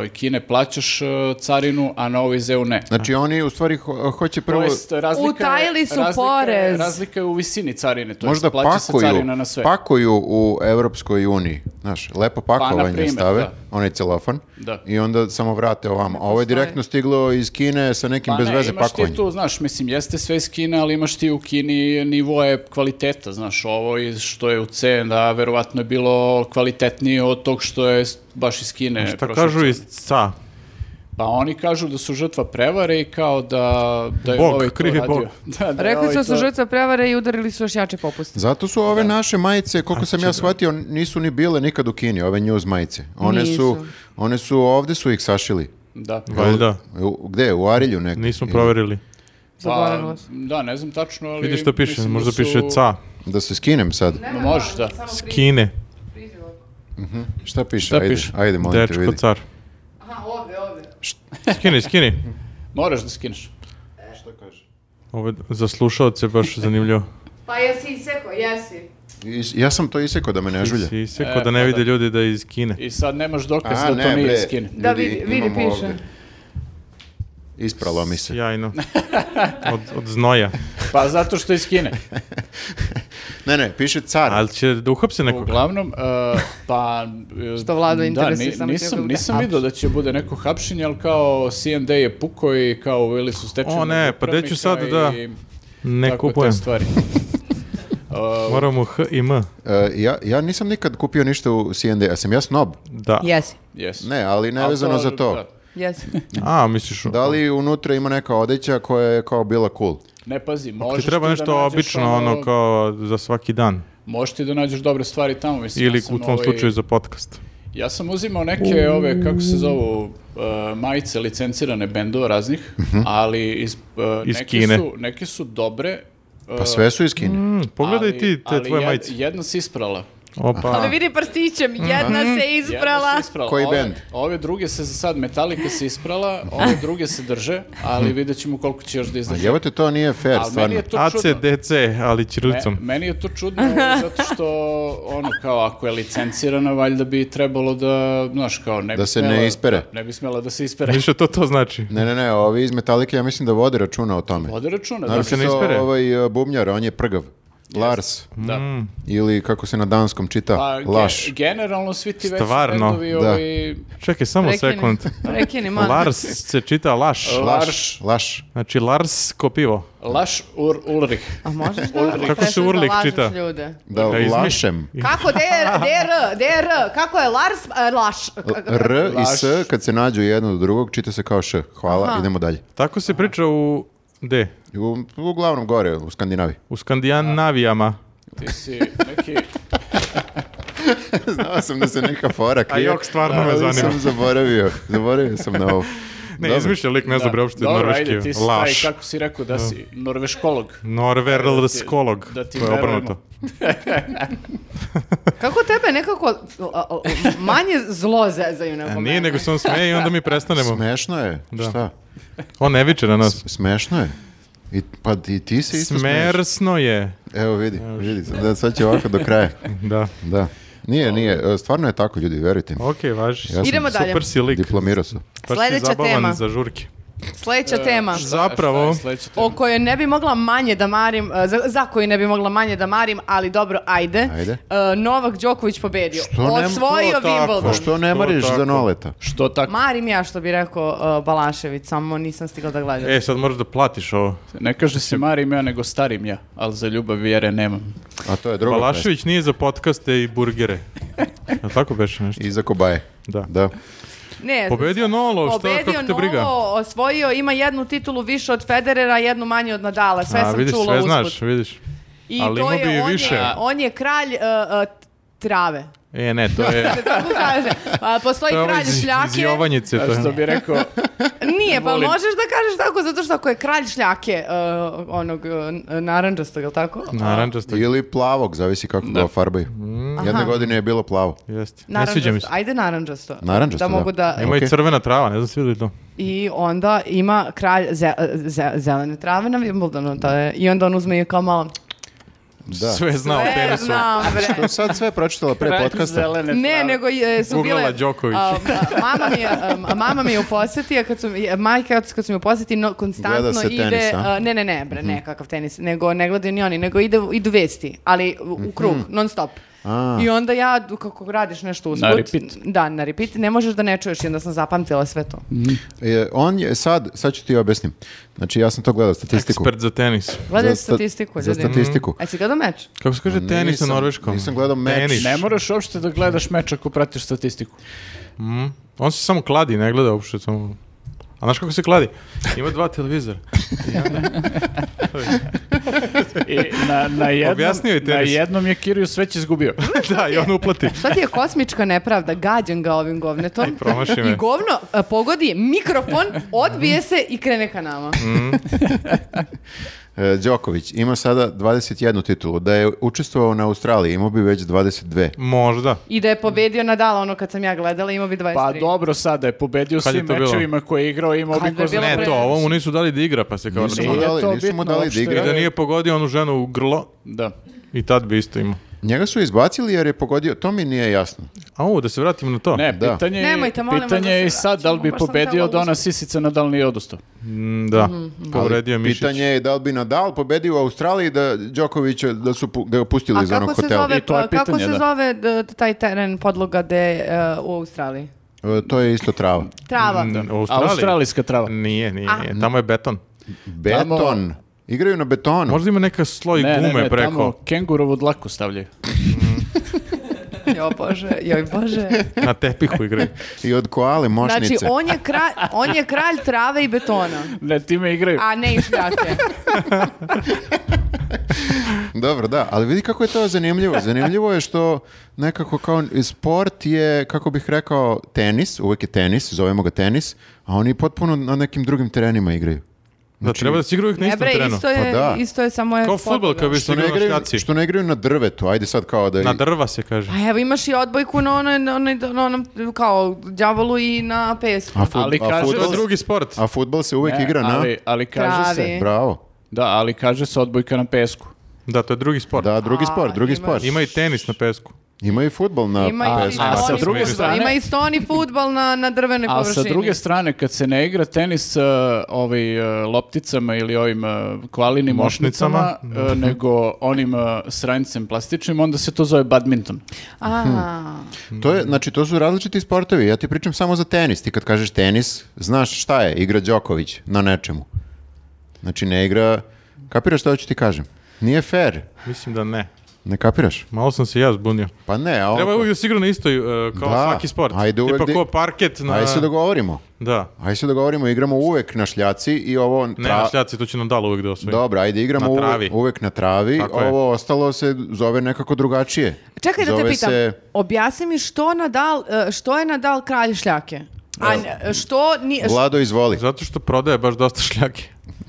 e, Kine plaćaš e, carinu, a na ovo iz EU ne. znači oni u stvari ho- hoće To prvo... jest, razlika je- Utajili su razlika je- porez. Razlika je u visini carine, to možda jest plaća se pakuju, carina na sve. pakuju u Evropskoj uniji, znaš, lepo pakovanje naprimer, stave, da. onaj celofan, Da. i onda samo vrate ovamo. A ovo je Postoji. direktno stiglo iz Kine sa nekim Pa bez ne, veze imaš pakovanjem. ti tu, znaš, mislim, jeste sve iz Kine, ali imaš ti u Kini nivoje kvaliteta, znaš, ovo iz što je u C, da, verovatno je bilo kvalitetnije od tog što je s- baš iz Kine. Šta prošlo kažu cenu. iz ca? Pa oni kažu da su žrtva prevare i kao da, da je Bog, ovaj to kriv je radio. Bog. [LAUGHS] Da, da je Rekli ovaj su da su to- žrtva prevare i udarili su još jače popuste. Zato su ove naše majice, koliko sam Znači, ja shvatio, nisu ni bile nikad u Kini, ove news majice. One su, Nisu. one su ovde su ih sašili. Da. Valjda, U, gde? U Arilju nekde. nismo Ili- proverili. Zaboravila Pa, sam. da, ne znam tačno, ali... Vidi što piše, mislim da možda su- piše ca. Da se skinem sad. Ma Može, da. S Kine, Šta piše? Šta ajde, piše? ajde, molim te, dečko vidi. car. Aha, ovde, ovde. Skini, skini. [LAUGHS] Moraš da skineš. Ovo je za slušalce baš zanimljivo. Pa jesi iseko, jesi. Is- Ja sam to isekao da me ne žulja. Si E, isekao da ne pa vide da. ljudi da je iz Kine. I sad nemaš dokaz A, da ne, to nije bre. iz Kine. Da, Ljudi, vidi, vidi, imamo piše. ovde. Ispralo mi se. [LAUGHS] Sjajno. Od, od znoja. Pa zato što je iz [LAUGHS] Kine. Ne, ne, piše car. Ali će da uhapse nekog. Uglavnom, e, pa... e, Što Vladu interesuje da, samo njegov ni- nisam, da nisam hapši. vidio da će bude neko hapšenje, ali kao CND je puko i kao uveli su stečajnog O ne, pa gde ću sad upravnika da- i Ne tako te kupujem. stvari. E, Moramo H i M. E, ja, ja nisam nikad kupio ništa u C&D, ja sam ja snob. Da. Jesi, jesu. Ne, ali Al nevezano za to. da. jesi. A, misliš... Da li unutra ima neka odeća koja je kao bila cool? Ne pazi, Ti možeš treba ti nešto da nađeš obično, ono kao za svaki dan. Možeš ti da nađeš dobre stvari tamo, mislim. Ili ja sam u tvom ovaj- slučaju za podcast. Ja sam uzimao neke ove, kako se zovu, uh, majice licencirane bendova raznih, Mhm. ali iz, uh, Iz neke, Kine. Su, neke su dobre. uh, Pa sve su iz Kine. Mm, pogledaj ali- ti te ali tvoje jed- [LAUGHS] majice. Jedna se isprala. Opa. Ali Pa vidi prstićem, Mhm. jedna se Jedna isprala. se isprala. Koji Ove- bend? Ove druge se za sad, Metallica se isprala, ove druge se drže, ali vidjet ćemo koliko će još da Mhm. A izdrže. jebote, to nije fair, Ali meni stvarno. je to čudno. ACDC, ali Me- ćirilicom. meni je to čudno [LAUGHS] zato što ono kao ako je licencirana valjda bi trebalo da znaš kao ne bi Da se ne smela- ispere. da, ne bi smela da se ispere. Više to to znači. Ne, ne, ne, ovi iz Metallica ja mislim da vode računa o tome. Vode računa. Da, Naravno se ne ispere. ovaj e, bubnjar, on je prgav. Lars, da. ili kako se na danskom čita, Pa, ge- Laš. generalno svi ti veći Stvarno. bendovi Da. ovi, Čekaj, samo Prekini, [LAUGHS] sekund. prekini, man. Lars se čita Laš. Laš, Laš. Znači Lars ko pivo. Laš Ur Ulrich. A možeš da Kako se prestati da Urlik lažeš čita? Ljude. Da, Da izmi- Lašem. Kako DR, DR, DR, kako je Lars, e, Laš. R i S, Laš. kad se nađu jedno do drugog, čita se kao Š. Hvala, idemo dalje. Tako se priča u... De? U, uglavnom gore, u Skandinaviji. [LAUGHS] U Skandinavijama. Ti si neki... Znao sam da se neka fora krije. jok, stvarno me ali zanima. sam zaboravio. Zaboravio sam na [LAUGHS] ovo. Ne, Dobro. izmišlja lik, ne znam bre uopšte Dobro, ajde, norveški. ti si Laš. taj, kako si rekao, da si norveškolog. E, Norverlskolog. Da ti to je verujemo. obrnuto. Kako tebe nekako a, a, manje zlo zezaju nego A mene? E, nije, nego se on smeje i onda [LAUGHS] mi prestanemo. Smešno je. Da. Šta? On ne viče na nas. Smešno je. I, pa i ti se isto smeješ. Smersno je. Evo vidi, vidi. Da, sad će ovako do [LAUGHS] kraja. Da. Da. Nije, nije. e, Stvarno je tako, ljudi, verujte mi. Ok, važi. Ja sam Idemo dalje. Super si lik. Diplomirao sam. Baš si Sljedeća zabavan tema. za žurke. Sljedeća E, tema. Šta- Zapravo- šta je sledeća tema? O kojoj ne bi mogla manje da marim, e, za, za koju ne bi mogla manje da marim, ali dobro, ajde. Ajde. E, Novak Đoković pobedio. Što ne- Osvojio to tako. Pa Wimbledon. što ne To mariš tako. za noleta? Što tako? Marim ja što bi rekao e, Balašević, samo nisam stigla da gledam. E, sad moraš da platiš ovo. Ne kaže se marim ja, nego starim ja, ali za ljubav vjere nemam. A to je drugo. Balašević nije za podcaste i burgere. Jel tako beše nešto? Iza kobaje. Da. Da. Ne, Pobedio Nolo, šta, pobedio kako te briga? Nolo, osvojio, ima jednu titulu više od Federera, jednu manje od Nadala, sve A, sam vidiš, čula sve usput. znaš, vidiš. I ali to imao bi i je, on više. je, on je kralj uh, uh, trave. E, ne, to [LAUGHS] je... Se [LAUGHS] tako kaže. Pa, postoji to je ovo kralj iz- iz šljake. Jovanjice, to je. Što bi rekao, Nije, pa Volim. možeš da kažeš tako, zato što ako je kralj šljake, uh, onog uh, naranđastog, jel tako? Mm. Naranđasto. Ili plavog, zavisi kako ga ofarbaju. Jedne Aha. godine je bilo plavo. Jeste. Ne sviđa mi se. Naranđasto, ajde naranđasto. Naranđasto, da. mogu da... da. Ima i Ok. crvena trava, ne znam svi li to. I onda ima kralj ze, ze- zelene trave na Wimbledonu, to je, i onda on uzme i kao malo... Da. Sve zna o "E, tenisu. znam, bre." To sad sve pročitala pre podcasta. zelene Ne, trave. nego je, su Googlala bile... Đoković. a, a, mama, mi je, a, mama mi je u posjeti, a kad su, mi- je- majka kad su mi u posjeti, no, konstantno Gleda se ide... tenis, a? Mhm. ne, ne, ne, bre, ne, kakav tenis, nego ne gledaju ni oni, nego ide, idu vesti, ali u, u krug, non stop. Mhm. A. I onda ja, d- kako radiš nešto usput... Na repeat. Da, na repeat, ne možeš da ne čuješ i onda sam zapamtila sve to. E, on je sad, sad ću ti objasnim. Znači ja sam to gledao, statistiku. Ekspert za tenis. Gledaj sta- statistiku, Za ljudi. Mhm. statistiku. A si gledao meč? Kako se kaže tenis na Nisam- norveškom? nisam gledao meč. Tenis. Ne moraš uopšte da gledaš meč ako pratiš statistiku. On se samo kladi, ne gleda uopšte samo... A znaš kako se kladi? Ima dva [LAUGHS] televizora. I na, na, jednom, Objasnio je na tenis. jednom je Kirius već izgubio. da, i on uplati. Šta ti je kosmička nepravda? Gađam ga ovim govnetom. Aj, promaši me. I govno a, pogodi mikrofon, odbije se i krene ka nama. E, Đoković ima sada 21 titulu. Da je učestvovao na Australiji, imao bi već 22. Možda. I da je pobedio Nadala ono kad sam ja gledala, imao bi 23. Pa dobro, sada je pobedio Kad je svim to bilo? mečevima koje je igrao i imao Kad bi je ko zna- bilo Ne, pre- to, ovo mu nisu dali da igra, pa se kao... Nisu računa. mu Nije dali, to nisu mu bitno dali da uopšte. I da igra. nije pogodio onu ženu u grlo, Da. i tad bi isto imao. Njega su izbacili jer je pogodio, to mi nije jasno. A ovo, da se vratimo na to. Ne, Da. pitanje, je- Nemojte, molim vas, pitanje da je se i sad da li bi vraćamo, baš sam pobedio htela da ona uzeti. sisica na dal nije odustao. Mm, Da, Mhm. povredio je Ali mišić. Pitanje je da li bi Nadal pobedio u Australiji da Đoković da su pu- da ga pustili A iz onog kako se hotela. zove, I to je pa, kako pitanje, se da. zove d- d- taj teren podloga de, e, u Australiji? E, To je isto trava. Trava. Mm, u Australiji? Australijska trava. Nije, nije, nije. Tamo je beton. Beton. Igraju na betonu. Možda ima neka sloj Ne, ne, gume ne, preko. tamo kengurovu dlaku stavljaju. Jo bože, joj [LAUGHS] bože. Na tepihu igraju. I od koale mošnice. Znači, on je, kralj, on je kralj trave i betona, Ne, time igraju. a ne i šljake. Dobro, da, ali vidi kako je to zanimljivo. Zanimljivo je što nekako kao sport je, kako bih rekao, tenis, uvek je tenis, zovemo ga tenis, a oni potpuno na nekim drugim terenima igraju. Znači, Da, treba da se igraju uvijek na Ne istom bre, terenu. isto je, Pa da. isto je samo je... Kao fudbal podloga. kad bi se Što ne, igrao na igraju, šljaci. što ne igraju na drvetu, ajde sad kao da... Na drva se kaže. Pa evo imaš i odbojku na onoj, na onoj, na onom, kao djavolu i na pesku. a, fut, Ali a, kaže- To je futbol, drugi sport. a futbol se uvek E, Ne, igra na... ali, ali kaže se, Travi. Bravo. da, ali kaže se odbojka na pesku. Da, to je drugi sport. Da, drugi A, sport, drugi imaš- sport. Ima i tenis na pesku. Ima i futbol na... Ima i a- stoni a sa fudbal, druge strane- Ima i stoni futbal na, na drvenoj [LAUGHS] A površini. sa druge strane, kad se ne igra tenis uh, ovaj, uh, lopticama ili ovim uh, kvalinim Mošnicama. mošnicama, uh, nego onim uh, sranjcem plastičnim, onda se to zove badminton. A, Hm. To je, znači, to su različiti sportovi. Ja ti pričam samo za tenis. Ti kad kažeš tenis, znaš šta je, igra Đoković na nečemu. Znači, ne igra... Kapiraš šta hoću ti kažem? Nije fair. Mislim da ne. Ne kapiraš? Malo sam se ja zbunio. Pa ne, a on... Treba uvijek da se igra na istoj, e, kao Da, svaki sport. ajde uvijek Tipa di- ko parket na... Ajde se dogovorimo. Da. Ajde se dogovorimo, igramo uvek na šljaci i ovo... Ne, tra- na šljaci, to će nam dalo uvijek da osvoji. Dobro, ajde igramo Na uve- travi. uvek, na travi. Tako je. ovo ostalo se zove nekako drugačije. čekaj da te Zove pitam, se- objasni mi što, Nadal, e, što je Nadal kralj šljake? A n- što ni... e, š- Vlado, izvoli. Zato što prodaje baš dosta šljake.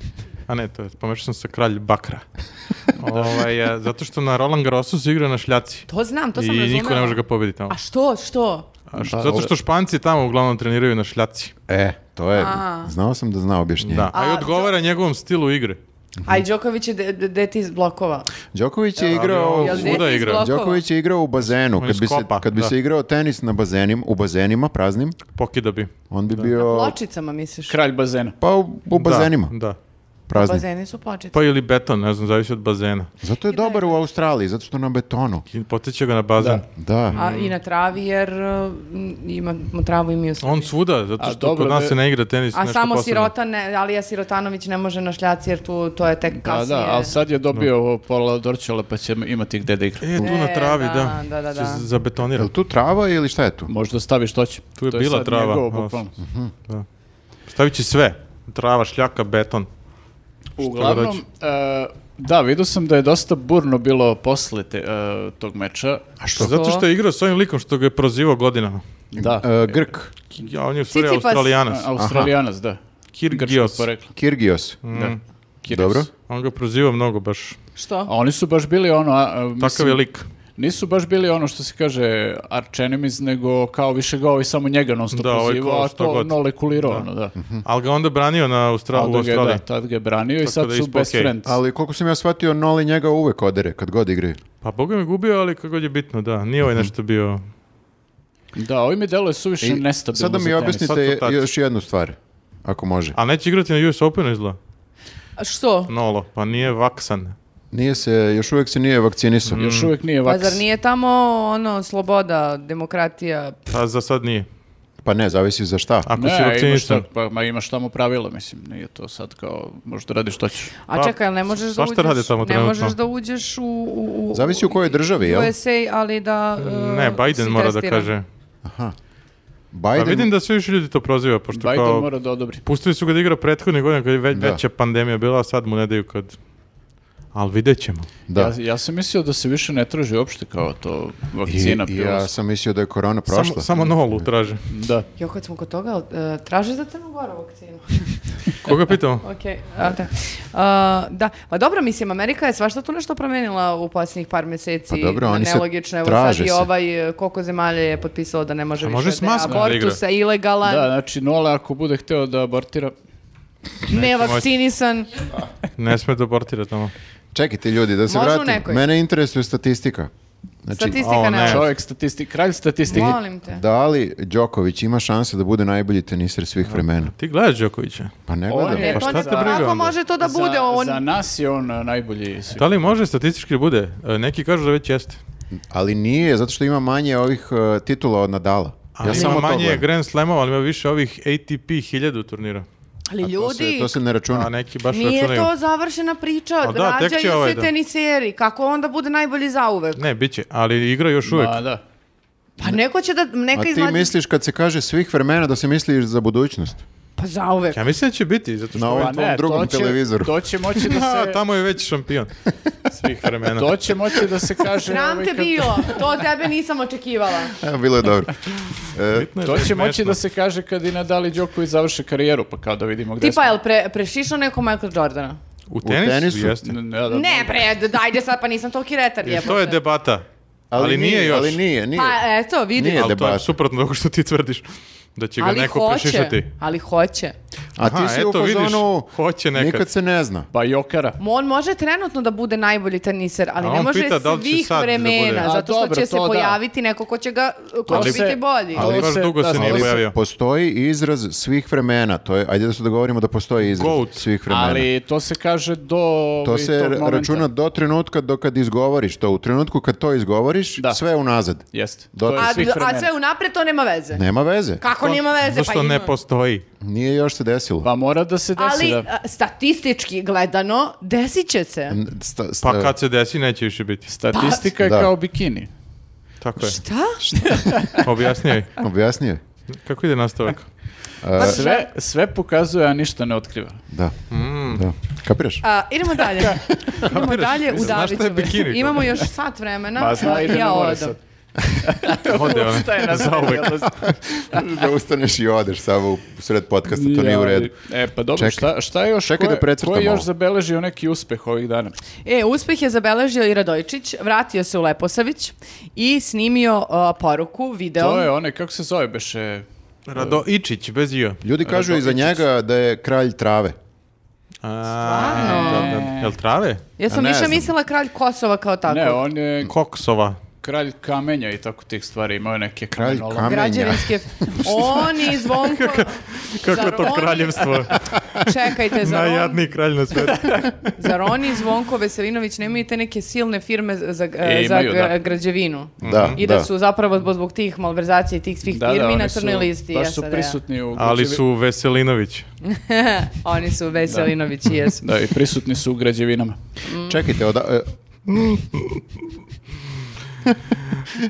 [LAUGHS] A ne, to je, pomešao sam sa kralj Bakra. [LAUGHS] ovaj, e, zato što na Roland Garrosu se igra na šljaci. To znam, to sam I razumela. niko ne može ga pobediti tamo. A što, što? A što- zato što Španci tamo uglavnom treniraju na šljaci. E, to je... A. Znao sam da zna objašnjenje. Da. A, i A, odgovara njegovom stilu igre. Mhm. A i Đoković je de- de- dete iz blokova. Đoković je igrao... Ali Jel on dete svuda iz igra. blok- Blokova. Đoković je igrao u bazenu. On Kad iz bi se, kopa, kad bi da. se igrao tenis na bazenim, u bazenima praznim, Pokida bi. on bi bio... Pločicama, misliš? Kralj bazena. Pa u, u bazenima. Da, da. prazni. Bazeni su početi. Pa ili beton, ne znam, zavisi od bazena. Zato je dobar u Australiji, zato što na betonu. I Potiče ga na bazen. Da. Da. A i na travi jer uh, m, imamo travu i mi u Srbiji. On svuda, zato A, što dobro, kod nas ne- se ne igra tenis. A nešto samo posebno. sirota, ne, Alija Sirotanović ne može na šljaci jer tu, to je tek Da, kasnije. da, ali sad je dobio ovo pola Dorčela pa će imati gde da igra. E, tu na E, travi, da, da. da, da, Će da. z- Je li zabetonirati. tu trava ili šta je tu? Možda stavi što će. Tu je To bila sad trava, Njegovo, ali- bukvalno. Stavit će sve. Trava, šljaka, beton. Uglavnom, e, da, vidio sam da je dosta burno bilo posle te, e, tog meča. A što? Zato što je igrao s ovim likom što ga je prozivao godinama. Da. eh, Eh, E, Grk, Ja, on je u stvari Cicipas. australijanac. Australijanac, da. Kirgios. poreklo. Kirgios. Da. Mm. Kyrgios. Dobro. On ga proziva mnogo baš. Što? A oni su baš bili ono... A, a, Takav mislim, je lik. Nisu baš bili ono što se kaže arčenemiz, nego kao više ga ovi samo njega non stop Da, ovaj pozivao, kao a šta to god. nolekulirao, ono, da. Ali ga onda branio na Austra- Onda u ga je, da, Australiji. tad ga je branio i Tako sad da je su ispao best okej. friends. Ali koliko sam ja shvatio, Noli njega uvek odere kad god igraju. Pa Boga mi gubio, ali kako god je bitno, da. Nije Hm. ovaj nešto bio... Da, ovi mi deluje suviše I nestabilno Sada za mi tenis. Sad objasnite to tako. još jednu stvar, ako može. A neće igrati na US Openu izgleda. A Što? Nolo, pa nije vaksan. Nije se, još uvek se nije vakcinisao. Mm. Još uvijek nije Pa vaks. zar nije tamo ono sloboda, demokratija? Pa za sad nije. Pa ne, zavisi za šta. Ako si Ne, imaš, vakcinisan. ta- pa, ma imaš tamo pravila, mislim, nije to sad kao, možda radiš što ćeš. A Pa, čekaj, jel ne možeš da svašta uđeš, rade tamo ne trenutno. možeš da uđeš u... u, u Zavisi u kojoj državi, jel? USA, ali da uh, Ne, Biden si mora da testiran. kaže. Pa Biden, vidim da sve više ljudi to proziva, pošto Biden kao... mora da odobri. Pustili su ga da igra prethodne godine kad je već, Da. veća pandemija bila, a sad mu ne daju kad... Ali vidjet ćemo. da. Ja, ja sam mislio da se više ne traži uopšte kao to vakcina. I, bilo ja s- sam mislio da je korona prošla. Samo, samo nolu traže. Da. Jo, kad smo kod toga, uh, traže za Crnu Goru vakcinu. Koga pitamo? [LAUGHS] Ok, a, da. A, da, pa dobro, mislim, Amerika je svašta tu nešto promenila u posljednjih par mjeseci. Pa dobro, na oni se Nelogično, evo sad traže i se. ovaj, e, koliko zemalja je potpisalo da ne može A više... može s da je maskom da igra? abortus je Pa- ilegalan, Da, znači Nola ako bude hteo da abortira, nevakcinisan. Ne sme da abortira tamo. Čekajte ljudi, da se Može u vratim. nekoj. Mene interesuje statistika. Znači, Statistika o, ne. ne. čovjek statistik, kralj statistike. Molim te. da li Đoković ima šanse da bude najbolji teniser svih vremena? Ti gledaš Đokovića? Pa ne On gledam. E, je- to šta ne- te briga Kako onda? može to da bude? za, On, za nas je on a, najbolji svi. Da li može statistički da bude? E, Neki kažu da već jeste. Ali nije, zato što ima manje ovih uh, titula od Nadala. Ali ja ima samo to manje gledam. Grand Slamova, ali ima više ovih ATP 1000 turnira. ali To se, ljudi, to se ne računa. A neki baš nije računaju. to završena priča. A da, tek će Rađaju ovaj se da. teniseri. Kako onda bude najbolji zauvek? Ne, bit će, ali igra još uvek. Ma, da. Pa neko će da... Neka A ti izlazi- misliš kad se kaže svih vremena da se misliš za budućnost? Pa zauvek. Ja mislim da će biti, zato što... Na ovom Pa tvom ne, drugom to će, televizoru. To će moći [LAUGHS] da A, se... tamo je već šampion svih vremena. To će moći da se kaže... Sram ovaj, te kad- bilo, to tebe nisam očekivala. Evo, bilo je dobro. E, Bitno je To da je će moći smešno. da se kaže kad i Nadali Đoković završe karijeru, pa kao da vidimo gde Tipa, jel pre, prešišao neko Michael Jordana? U tenisu? tenisu jeste. smo. N- da, da, Ne bre, d- dajde sad, pa nisam toliki retar Jer to je debata. Ali, nije, još. Ali nije, nije. Pa eto, vidi. Nije. Ali to debata. je suprotno toga što ti tvrdiš. Da će ga Ali neko hoće, prešišati. ali hoće. A ti Aha, si u eto, vidiš, fazonu, hoće nekad. nikad se ne zna. Pa Jokara. On može trenutno da bude najbolji teniser, ali A ne on može pita da li će svih sad da bude. vremena, A zato što dobro, će se to da. pojaviti neko ko će ga, ko To će se- biti bolji. Ali to baš dugo se nije to pojavio. Postoji izraz svih vremena, to je, ajde da se dogovorimo da postoji izraz Goat. svih vremena. Ali to se kaže do... to ovaj, se tog momenta. računa do trenutka do kad izgovoriš to. U trenutku kad to izgovoriš, Da. sve je unazad. Jeste. Do- To je A, svih a sve vremena. unapred to nema veze. Nema veze. Kako nema veze? Zašto pa ima. ne postoji? Nije još se desilo. Pa mora da se desi Ali Pa- da... a, statistički gledano, desit će se. N- sta- sta- Pa kad se desi neće više biti. Statistika je Da. kao bikini. Tako je. Šta? Objasnio je. Objasnio je. Kako ide [LAUGHS] nastavak? Pa Sve, sve pokazuje, a ništa ne otkriva. Da. da. Kapiraš? A, idemo dalje. idemo [LAUGHS] Kapiraš? dalje u Mislim, znaš šta je Davićeve. bikini? Imamo još sat vremena. [LAUGHS] Pa zna, i ide na ja more odam. [LAUGHS] sad. Ode on. Šta je na zauvek? [LAUGHS] da ustaneš i odeš samo u sred podcasta, to nije u redu. E, pa dobro, Čekaj. šta, šta je još? Čekaj ko je- da precrtam ko je još ovo. zabeležio neki uspeh ovih dana? E, uspeh je zabeležio i Radojčić, vratio se u Leposavić i snimio a, poruku, video. To je one, kako se zove beše? Rado Ičić, bez io. Ljudi kažu i za njega da je kralj trave. Stvarno? Jel trave? Ja sam A ne više znam. mislila kralj Kosova kao tako. Ne, on je Koksova. kralj kamenja i tako tih stvari, imao je neke Kralj kamenolome. kamen- [LAUGHS] Građevinske... Oni zvonko... Kako zar je to oni- kraljevstvo? [LAUGHS] Čekajte, zar, on, Znači Najjadniji kralj [LAUGHS] na svetu. zar oni i Zvonko Veselinović nemaju te neke silne firme za, za, E, za imaju, gra- da. građevinu? Da, I da, su zapravo zbog- zbog tih malverzacija i tih svih Da, da, firmi oni na su- crnoj listi. Baš su SAD-a. prisutni u Ali građevi- su Veselinović. Oni su [LAUGHS] Veselinović i jesu. Da, i prisutni su u građevinama. mhm. Čekajte, oda- e,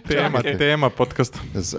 Tema, tema podcasta. z-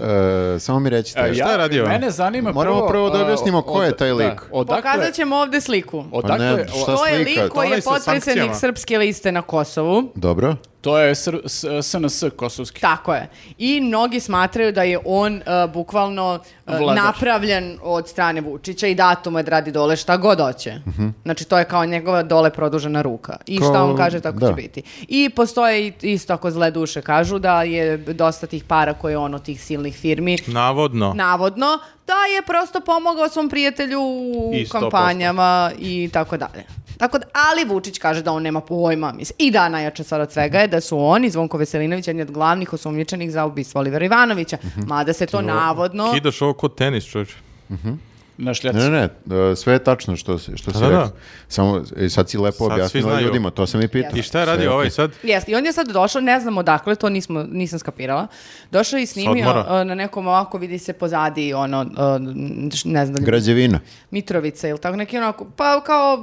e, samo mi recite. A ja- je radio? Mene zanima Moramo prvo da a, objasnimo ko od- je taj da, lik. odakle- Pokazat ćemo ovdje Pa sliku. ne, odakle- šta Dakle, o- To je slika? lik koji Onaj je sa potpredsjednik sankcijama. srpske liste na Kosovu. Dobro. to je sr- s- SNS kosovski. Tako je. I mnogi smatraju da je on e, bukvalno e, Vladar. napravljen od strane Vučića i dato mu je da radi dole šta god hoće. Mhm. Znači to je kao njegova dole produžena ruka. I Kao- šta on kaže tako da. će biti. I postoje i- isto ako zle duše kažu da je dosta tih para koje je on od tih silnih firmi Navodno. navodno, da je prosto pomogao svom prijatelju u I 100%. kampanjama i tako dalje. Tako da, ali Vučić kaže da on nema pojma. Mislim. I da, najjače stvar od svega je da su oni, Zvonko Veselinović, jedni od glavnih osumnjičenih za ubistvo Olivera Ivanovića. Mada se to navodno... Kidaš ovo ko tenis, čovječe. Na šljaci. Ne, ne, e, sve je tačno što, si- što si Da, da. rekao. Samo, e, sad si lepo Sad svi objasnila znaju. ljudima, to sam i pitao. I šta je Sve radio ok. ovaj sad? Jeste, i on je sad došao, ne znam odakle, to nismo, nisam skapirala. Došao je i snimio odmora. e, na nekom ovako, vidi se pozadi, ono, e, š- ne znam, da li- Građevina. Mitrovica ili tako, neki onako, pa kao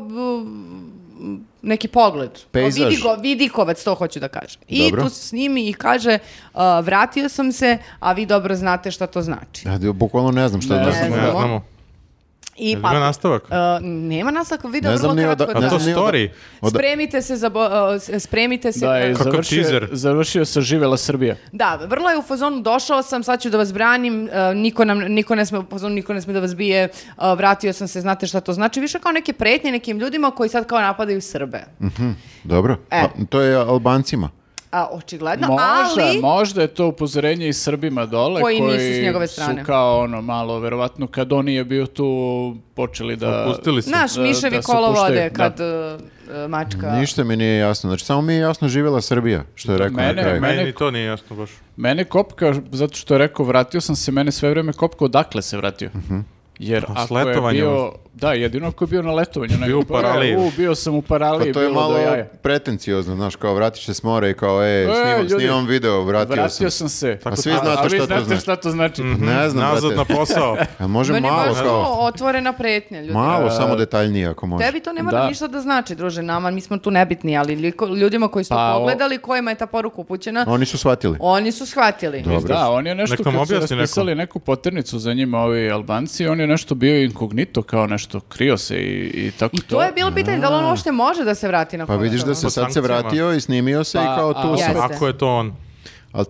mm, neki pogled. Pejzaž. Vidi, go, vidikovac, to hoću da kažem. I Dobro. tu se snimi i kaže, uh, vratio sam se, a vi dobro znate šta to znači. Ja, d- bukvalno ne znam šta Ne da znam. sam. Ne znamo. znamo. I Jel pa, ima nastavak? uh, nema nastavka, video Ne je znam vrlo ni kratko. oda- A ne da. to znam ni oda- story? Oda- Spremite se za, bo- uh, s- spremite se. Da, je uh, Kakav završio, teaser. završio sa živela Srbija. Da, vrlo je u fazonu došao sam, sad ću da vas branim, e, niko, nam, niko ne sme u fazonu, niko ne sme da vas bije, e, vratio sam se, znate šta to znači, više kao neke pretnje nekim ljudima koji sad kao napadaju Srbe. Mhm, dobro. E. Pa, to je Albancima. A, očigledno, Možda, ali... možda je to upozorenje i Srbima dole Koji nisu s njegove strane. su kao ono malo verovatno kad on je bio tu počeli da Opustili se. Znaš, Da- miševi da se kolovode puštaju, kad da. e, e, mačka... Ništa mi nije jasno. Znači, samo mi je jasno živjela Srbija, što je rekao na Mene- kraju. Meni mene- ni to nije jasno baš. Mene kopka, zato što je rekao vratio sam se, mene sve vreme kopka odakle se vratio. Mhm. Jer Pa, s ako je letovanja bio, možda. da, jedino ako je bio na letovanju. nego Bio u pa je, Paraliji. U, bio sam u Pa paraliji, to je bilo do malo jaja. pretenciozno, znaš, kao vratiš se s mora i kao, e, snimam, ljudi, snimam video, vratio, Vratio sam. sam se. Pa Tako svi to- znate a vi šta to znate znači. šta to znači. Mhm. Ne znam, Nazad na brate. posao. A može Meni je malo, baš ono kao, otvorena pretnja, ljudi. malo, E, samo detaljnije ako može. Tebi to ne mora Da. ništa da znači, druže, nama, mi smo tu nebitni, ali liko- ljudima koji su Pa, to o- pogledali, kojima je ta poruka upućena, Oni su shvatili. oni su shvatili. Dobro. Pa Da, on je nešto Nek nam kad su objasni neko. raspisali neku poternicu za njima ovi Albanci, on je nešto bio inkognito kao nešto, krio se i, i tako I to je bilo pitanje da li on uopšte može da se vrati na Pa vidiš da se Po sad se sankcijama. vratio i snimio se i Pa, kao a- tu sam. Jeste. Ako je to on. Ne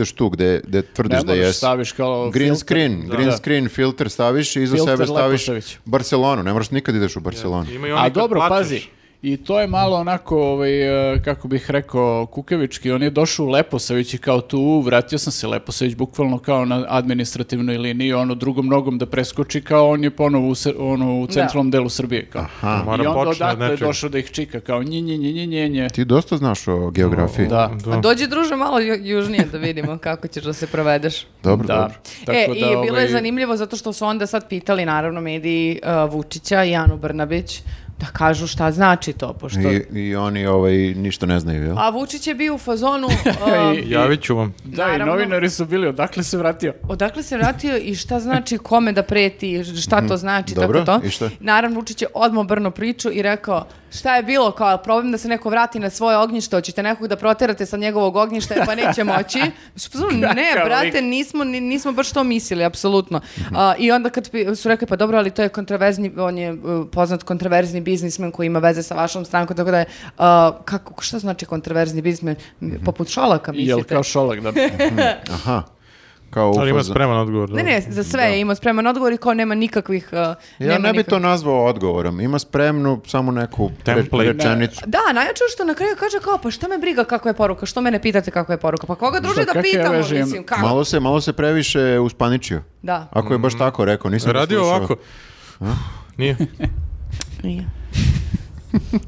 da moraš jesi. staviš kao Green filter. screen, Da, green da. screen filter staviš i iza Filter sebe staviš Leposavić. Barcelonu, ne moraš nikad ideš u Barcelonu. Ima i oni A kad dobro, plačeš. pazi, i to je malo onako, ovaj, e, kako bih rekao, kukavički, on je došao u Leposavić i kao tu, u, vratio sam se Leposavić, bukvalno kao na administrativnoj liniji, ono drugom nogom da preskoči, kao on je ponovo u, Sr- ono, u Da. centralnom delu Srbije. Kao. Mora I onda počne od odatle je nečeg. došao da ih čika, kao nji, nji, nji, nji, nji, nji. Ti dosta znaš o geografiji. Da. Da. A Pa, dođi druže malo ju- južnije da vidimo kako ćeš da se provedeš. Dobro, Da. dobro. Tako e, da, i bilo ovaj, je zanimljivo zato što su onda sad pitali naravno mediji uh, Vučića i Anu Brnabić da kažu šta znači to, pošto... I, I oni ovaj, ništa ne znaju, jel? A Pa Vučić je bio u [LAUGHS] fazonu... uh, I- i- Javit ću vam. Da, i Naravno. novinari su bili, odakle se vratio? odakle se vratio i šta znači kome da preti, šta Mhm. to znači, Dobro, tako to. i šta? Naravno, Vučić je odmah brno priču i rekao, šta je bilo, kao problem da se neko vrati na svoje ognjište, hoćete nekog da proterate sa njegovog ognjišta, E, pa neće [LAUGHS] moći. Mislim, pozor, ne, Kakav brate, lik. Mhm. nismo, ni- nismo baš to mislili, apsolutno. A, I onda kad pi- su rekli, pa dobro, ali to je kontraverzni, on je uh, poznat kontraverzni biznismen koji ima veze sa vašom strankom, tako da je, a, kako, šta znači kontraverzni biznismen? Poput Šolaka, mislite? Jel kao šolak, [LAUGHS] da. Pa E, Aha. Kao u Ali ima fazonu- spreman odgovor. Ne, da. ne, za sve je imao spreman odgovor i kao nema nikakvih... uh, Ja nema ne bi nikakvih- to nazvao odgovorom. Ima spremnu samo neku re- Template. rečenicu. Da, najjače je što na kraju kaže kao, pa šta me briga kakva je poruka, što mene pitate kakva je poruka, pa koga druže Šta, da kakve pitamo, veze ima? mislim, kako? Malo se, malo se previše uspaničio. Da. Ako je Mm. baš tako rekao, nisam ga Radio slušao. [LAUGHS] ovako. Nije. Nije.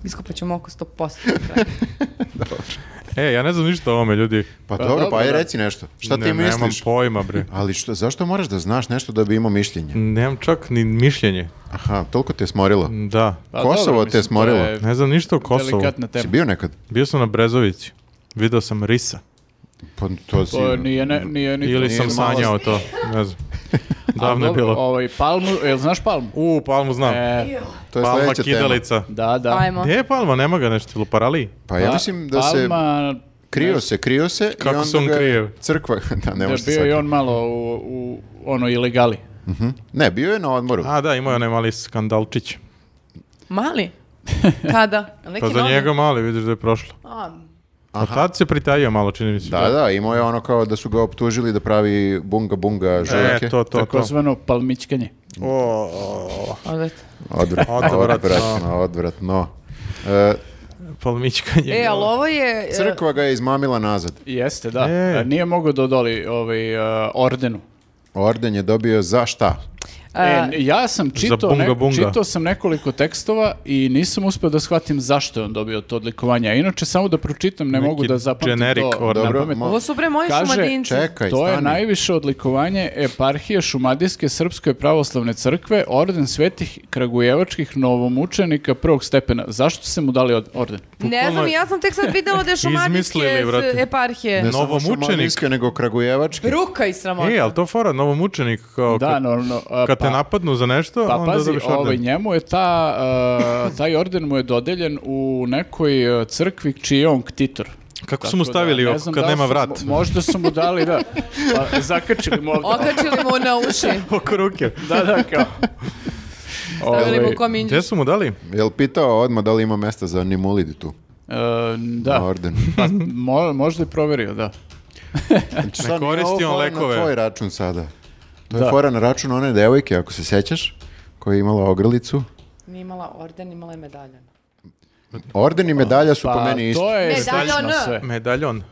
Iskupat ćemo oko 100%. E, ja ne znam ništa o ovome, ljudi. Pa Pa dobro, pa dobro, aj da. reci nešto. Šta ne, ti Nemam misliš? pojma, bre. Ali što, zašto moraš da znaš nešto da bi imao mišljenje? Nemam čak ni mišljenje. Aha, toliko te smorilo. Da. Pa Kosovo dobro, te mislim, to smorilo. je Ne znam ništa o Kosovu. Delikatna Si tema. bio nekad? Bio sam na Brezovici. Video sam risa. Pa to si... To nije, ne, nije ni Ili to. sam nije malo- sanjao to. Ne znam. A Davno je dobro, bilo. Ovaj, palmu, jel znaš palmu? U, Palmu znam. E, To je Palma sljedeća tema. kidalica. da, da. Ajmo. Gdje je Palma? Nema ga nešto. Ili u paraliji? Pa ja Pa- mislim da se... Palma, Krio se, krio se. Kako i onda se on ga je krio? Crkva, [LAUGHS] da, ne da možete bio sad. je on malo u, u ono ilegali. Ne, bio je na odmoru. A da, imao je onaj mali skandalčić. Mali? Kada? Neki Pa za novi? njega mali, vidiš da je prošlo. A, A tad se pritajio malo, čini mi se. Da, da, imao je ono kao da su ga optužili da pravi bunga bunga žurke. E, to, to, to. Takozvano palmičkanje. O, o, odvrat. Odvratno, Odvratno. odvratno, odvratno. E, palmičkanje. E, ali ovo je... e, crkva ga je izmamila nazad. Jeste, da. E. A Nije mogao da odoli ovaj, e, ordenu. Orden je dobio za šta? E, ja sam čitao, bunga ne- bunga. čitao sam nekoliko tekstova i nisam uspio da shvatim zašto je on dobio to odlikovanje. A inače, samo da pročitam, ne Neki mogu da zapamtim generic to orden. na Dobro, pamet. mo- Ovo su bre moji Kaže, šumadinci. Čekaj, To je stani. najviše odlikovanje eparhije Šumadijske Srpske pravoslavne crkve, orden svetih kragujevačkih novomučenika prvog stepena. Zašto ste mu dali od- orden? Ne znam, ja sam tek sad videla da je šumadinske Izmislili, brate. s- eparhije. Ne samo Novomučenik. šumadijske, nego kragujevački. Ruka i sramota. E, ali to fora, novomučenik, kao Da, kad, normalno. a, kad te pa- napadnu za nešto, Pa onda pazi, dobiješ orden. ovaj, njemu je ta, e, taj orden mu je dodeljen u nekoj e, crkvi čiji je on ktitor. Kako su mu Tako da, stavili ne oko znam kad da li nema su- vrat? mo- Možda su mu dali, da. Pa, zakačili mu [LAUGHS] ovdje. Okačili mu na uši. [LAUGHS] Oko ruke. Da, da, kao. Stavili mu Ovaj, kominđu. Gdje su mu dali? Jel pitao odmah da li ima mesta za Nimulid tu? e, Na da, ordenu. pa, mo- možda je proverio, da. Šta, nije koristi ovo on fora lekove. Na tvoj račun sada. To je Da. fora na račun one devojke, ako se sećaš, koja je imala ogrlicu. Nije imala orden, imala je medalja. Orden i medalja su Pa, po meni isto. to je Ne, slično dalje ono. sve. Medaljon.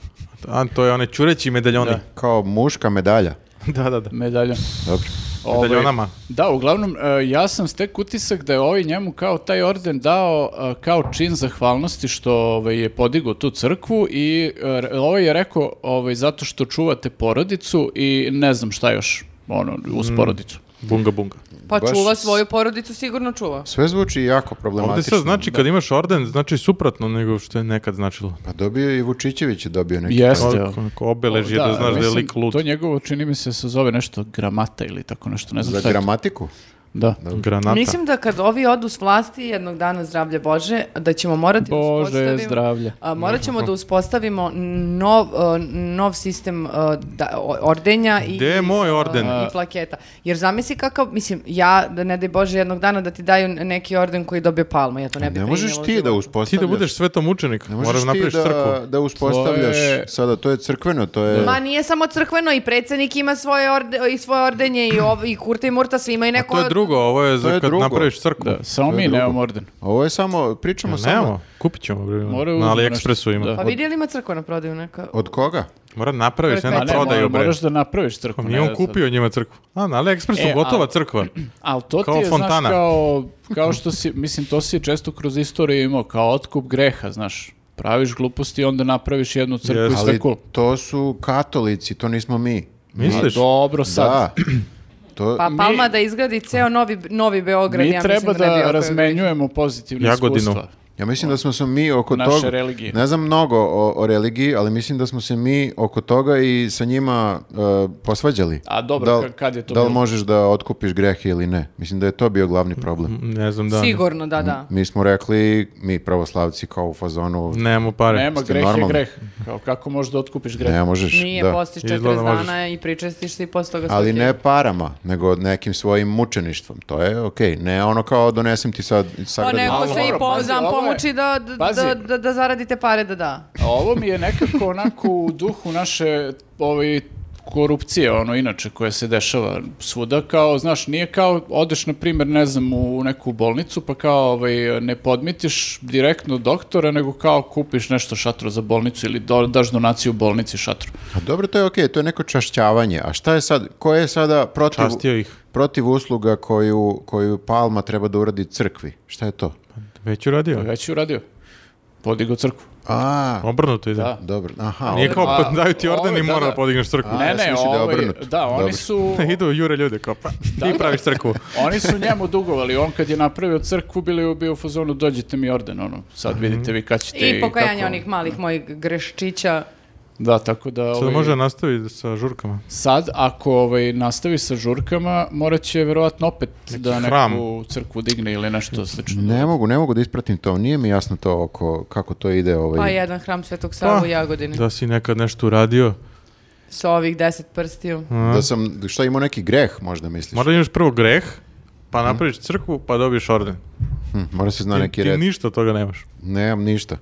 A, to je one čureći medaljoni. Da. Kao muška medalja. [LAUGHS] Da, da, da. Medalja. Dobro. Ovaj, Medaljonama. Da, uglavnom, e, ja sam stek utisak da je ovaj njemu kao taj orden dao e, kao čin zahvalnosti što ovaj, je podigao tu crkvu i e, re- ovaj je rekao ovaj, zato što čuvate porodicu i ne znam šta još ono, Mm. uz porodicu. Bunga, bunga. Pa Baš čuva s- svoju porodicu, sigurno čuva. Sve zvuči jako Ovdje problematično. sad znači kad imaš orden, znači suprotno nego što je nekad značilo. Pa dobio je i Vučićević je dobio neki. Jeste. taj- Koliko, koliko obeležje da, znaš da je mislim, lik lud. To njegovo, čini mi se, se zove nešto gramata ili tako nešto, ne znam Za šta je to. gramatiku? Da. Granata. Mislim da kad ovi odu s vlasti jednog dana zdravlje Bože, da ćemo morati da Bože, uspostavimo- zdravlje. A, morat ćemo da uspostavimo nov, e, nov sistem e, da, o- ordenja i, Gde je moj orden? e, i plaketa. Jer zamisli kakav, mislim, ja, da ne daj Bože, jednog dana da ti daju neki orden koji dobije palma. Ja to ne bi Ne možeš primila u ti da životu. Ti uspostavljaš. da budeš svetom učenik. Ne Moraš možeš napraviš ti da, crkvu. da uspostavljaš To je- sada, to je crkveno, to je... Ma nije samo crkveno, i predsjednik ima svoje, orde, i svoje ordenje, i, ov, i Kurta i Murta, svi imaju A neko... to je drugo, ovo je, To za je kad drugo. napraviš crkvu. Da, samo To je mi drugo. nemamo orden. Ovo je samo, pričamo samo... Nemamo, kupit ćemo. bre, Moraju Na uzmem AliExpressu nešto. ima. Da. Pa vidi li ima crkva na prodaju neka? Od koga? Mora napraviš, ne Pa na A ne, prodaju, mora- bre. moraš da napraviš crkvu. Pa ne nije on da sad- kupio njima crkvu. A, na AliExpressu E, gotova a- crkva. Ali to Kao ti je, fontana. znaš, kao, kao što si, mislim, to si često kroz istoriju imao, kao otkup greha, znaš. Praviš gluposti i onda napraviš jednu crkvu Jeste. i sve Ali cool. to su katolici, to nismo mi. Misliš? Dobro, sad. Da. To, Pa Mi- Palma da izgradi ceo novi, novi Beograd. Mi ja mislim treba da, ne bi da opeo- razmenjujemo pozitivne Jagodinu. iskustva. ja mislim da smo se mi oko Naše toga... religije. Ne znam mnogo o, o religiji, ali mislim da smo se mi oko toga i sa njima uh, posvađali. A dobro, Da li- ka- kad je to Da li bilo? možeš da otkupiš grehe ili ne? Mislim da je to bio glavni problem. Ne znam da. Sigurno, da, da. Mi smo rekli, mi pravoslavci kao u fazonu, Nemamo pare. Nema, Jeste greh normalni? je greh. Kao, kako možeš da otkupiš greh? ne možeš. Nije, da. postiš 40 Izgleda možeš. dana i pričestiš se i posle toga Ali svaki- ne parama, nego nekim svojim mučeništvom. To je okej. Ne ono kao donesem ti sad Pa sagradim. neko Ali se i dobro, pazi, pozam ovo je- pomuči da, da, Pazi. da, da, da zaradite pare da da. A Ovo mi je nekako onako u duhu naše ovaj, korupcije, ono inače koja se dešava svuda, kao, znaš, nije kao odeš, na primjer, ne znam, u neku bolnicu, pa kao, ovaj, ne podmitiš direktno doktora, nego kao kupiš nešto šatro za bolnicu ili do- daš donaciju bolnici šatru. A dobro, to je okej, to je neko čašćavanje. A šta je sad, ko je sada protiv, Častio ih. protiv usluga koju, koju Palma treba da uradi crkvi? Šta je to? Već uradio. Već je uradio. Podigo crkvu. A, Obrnuto ide. Da. dobro. Aha, Nije kao A, pa daju ti orden ove, i da, mora da. da podigneš crkvu. A, ne, ja sam ne, mislio da je ovaj- obrnuto. da, oni Dobro. su... Idu, jure ljude kao pa. Ti praviš [LAUGHS] crkvu. Oni su njemu dugovali, on kad je napravio crkvu, bili bio u fazonu, dođite mi orden, ono, sad Mhm. vidite vi kad ćete I pokajanje kako." onih malih mojih greščića. Da, tako da... Sad ovaj, može nastavi sa žurkama. sad, ako ovaj, nastavi sa žurkama, morat će verovatno opet da neku hram. crkvu digne ili nešto slično. Ne mogu, ne mogu da ispratim to. Nije mi jasno to oko kako to ide Pa ovaj. jedan hram Svetog Sava Pa, u Jagodini. Da si nekad nešto uradio. Sa ovih deset prstiju. Da sam šta imao neki greh, možda misliš. Mora, Možda imaš prvo greh, pa napraviš crkvu, pa dobiješ orden. hm, mora se zna Ti- Mhm. neki ti red. ništa od toga nemaš. Nemam ništa.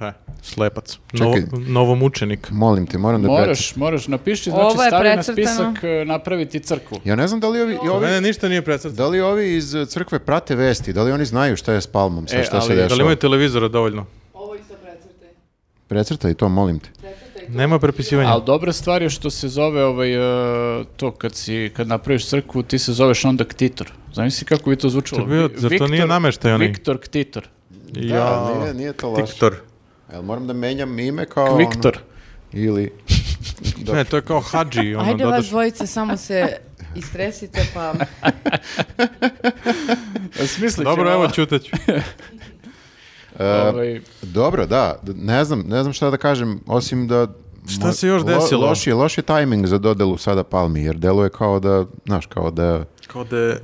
Pa, slepac. Čekaj. Novo, novomučenik. Molim te, moram da Moraš, pretim. moraš, napiši, Ovo znači je stavi na precrtano. spisak e, napraviti crkvu. Ja ne znam da li ovi, i ovi Mene ništa nije predstavljeno. da li ovi iz e, crkve prate vesti, da li oni znaju šta je s palmom, sve E, šta se ali- da li Da li dešava. imaju televizora dovoljno? Ovo isto precrtaj. Precrtaj to, molim te. Nema prepisivanja. Ali dobra stvar je što se zove ovaj, e, to kad, si, kad napraviš crkvu, ti se zoveš onda ktitor. Zamisli kako bi to zvučalo. To bio- Vi- zar to nije nameštaj onaj? Viktor ktitor. Da, ja, nije, nije to loše. Tiktor. Jel moram da menjam ime kao... ono- Viktor. ili... Ne, to je kao hađi. Ono, Ajde vas dodaš, dvojice, samo [LAUGHS] se istresite pa... Smislit dobro, evo [LAUGHS] čutaću. e, Ovaj, Dobro, da, d- ne znam, ne znam šta da kažem, osim da... Šta se još desilo? Lo, loš, je, loš je tajming za dodelu sada Palmi, jer deluje kao da, znaš, kao da, Kao da je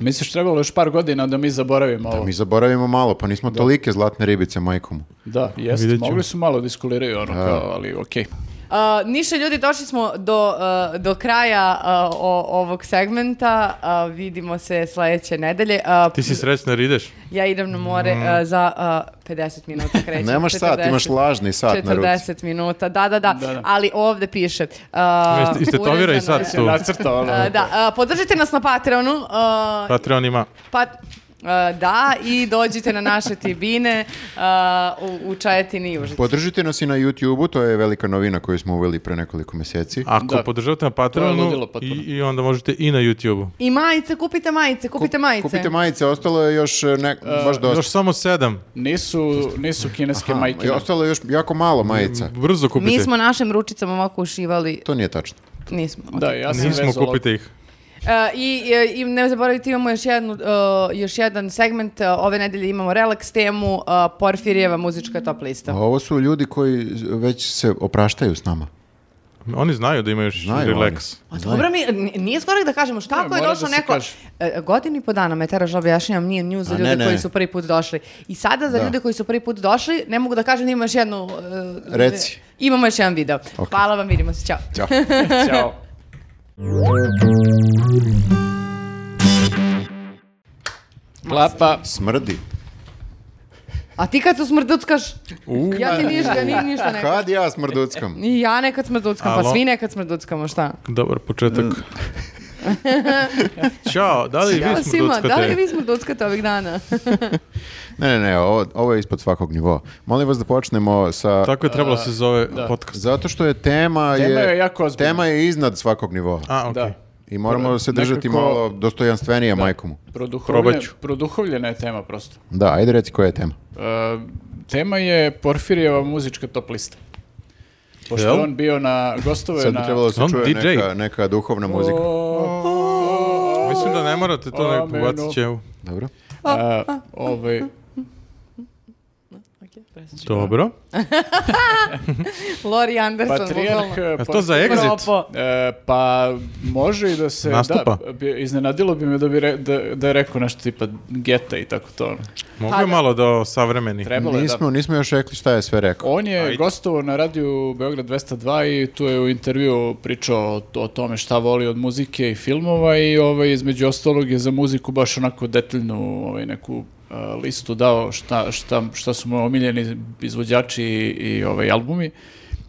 Misliš trebalo još par godina da mi zaboravimo da ovo? mi zaboravimo malo, pa nismo tolike zlatne ribice majkomu. Da, jeste. Vidjet ćemo. Mogli su malo da iskuliraju ono kao, ali okej. A, ništa Uh, ljudi, došli smo do, a, do kraja a, o- ovog segmenta. A, vidimo se sledeće nedelje. A, Ti si srećna jer ideš. Ja idem na more a, za a, 50 minuta krećem. [LAUGHS] Nemaš sat, imaš 40. lažni sat na ruci. 40 minuta, da, da, da, Da, da. ali ovde piše. a, Ist- istetoviraj urezano sad je- tu. Nacrtao ono. A, da, a, podržite nas na Patreonu, a, Patreon ima. pa, a, da, i dođite na naše tribine a, u, u Čajetini i Užicu. Podržite nas i na YouTube-u, to je velika novina koju smo uveli pre nekoliko mjeseci. Ako Da. podržavate na To je Patreonu ludilo potpuno. i, i onda možete i na YouTube-u. I majice, kupite majice, kupite majice. Kupite majice, ostalo je još e, ne, baš dosta. Još samo sedam. Nisu, nisu kineske Aha, majke. i ostalo je još jako malo majica. Brzo kupite. Mi smo našim ručicama ovako ušivali, To nije tačno. nismo. Da, ja sam Nismo, vezao kupite ih. E, i, e, I ne zaboravite, imamo još, jednu, e, još jedan segment, e, ove nedelje imamo relaks temu, e, Porfirijeva muzička top lista. A Ovo su ljudi koji z- već se opraštaju s nama. Oni znaju da imaju još Znaju relax. A oni. Pa dobro mi, n- nije skoro da kažemo, šta Ne, ako je mora došao da se neko... kaže. E, Godinu i po dana Metaraž objašnjavam, nije nju za A, ljude ne, ne. koji su prvi put došli. I sada za Da. ljude koji su prvi put došli, ne mogu da kažem da ima još jednu... e, Reci. Imamo još jedan video. Hvala vam, vidimo se, čao. [LAUGHS] Ćao. Klapa. Smrdi. A ti kad se smrduckaš, ja ti ništa, ni, ništa ne... Kad ja smrduckam? I ja nekad smrduckam, pa Alo. svi nekad smrduckamo, šta? Dobar početak. Mm. [LAUGHS] Ćao, da li vi Ćao smo svima, da li duckate? vi smo duckate ovih dana? Ne, ne, ne, ovo, ovo je ispod svakog nivoa. Molim vas da počnemo sa... Tako je trebalo se zove podcast. Zato što je tema... Tema je jako ozbiljna. Tema je iznad svakog nivoa. A, okej. Da. I moramo se držati Nekako- malo dostojanstvenije majkomu. Produhovlje, Probat ću. produhovljena je tema prosto. Da, ajde reci koja je tema. E, tema je Porfirijeva muzička top lista. Pošto je Jel? on bio na gostove Sad bi na... trebalo da se On čuje DJ. neka, neka duhovna muzika. Mislim da ne morate to Amenu. nek pobacit će. evo. Dobro. E, ovaj, Dobro. Lori Anderson, Patrijarh... bukvalno. E to Porfirije- za Exit? Propo. E, pa može i da se... Nastupa? Da, bi- iznenadilo bi me da, bi re- da, da je rekao nešto tipa geta i tako to. ono. Mogu je malo da savremeni. Trebalo je da... Nismo, nismo još rekli šta je sve rekao. On je Ajde. gostovao na radiju Beograd 202 i tu je u intervju pričao o, o tome šta voli od muzike i filmova i ovaj, između ostalog je za muziku baš onako detaljnu ovaj, neku a, listu dao šta, šta, šta su mu omiljeni izvođači i, i ovaj, albumi.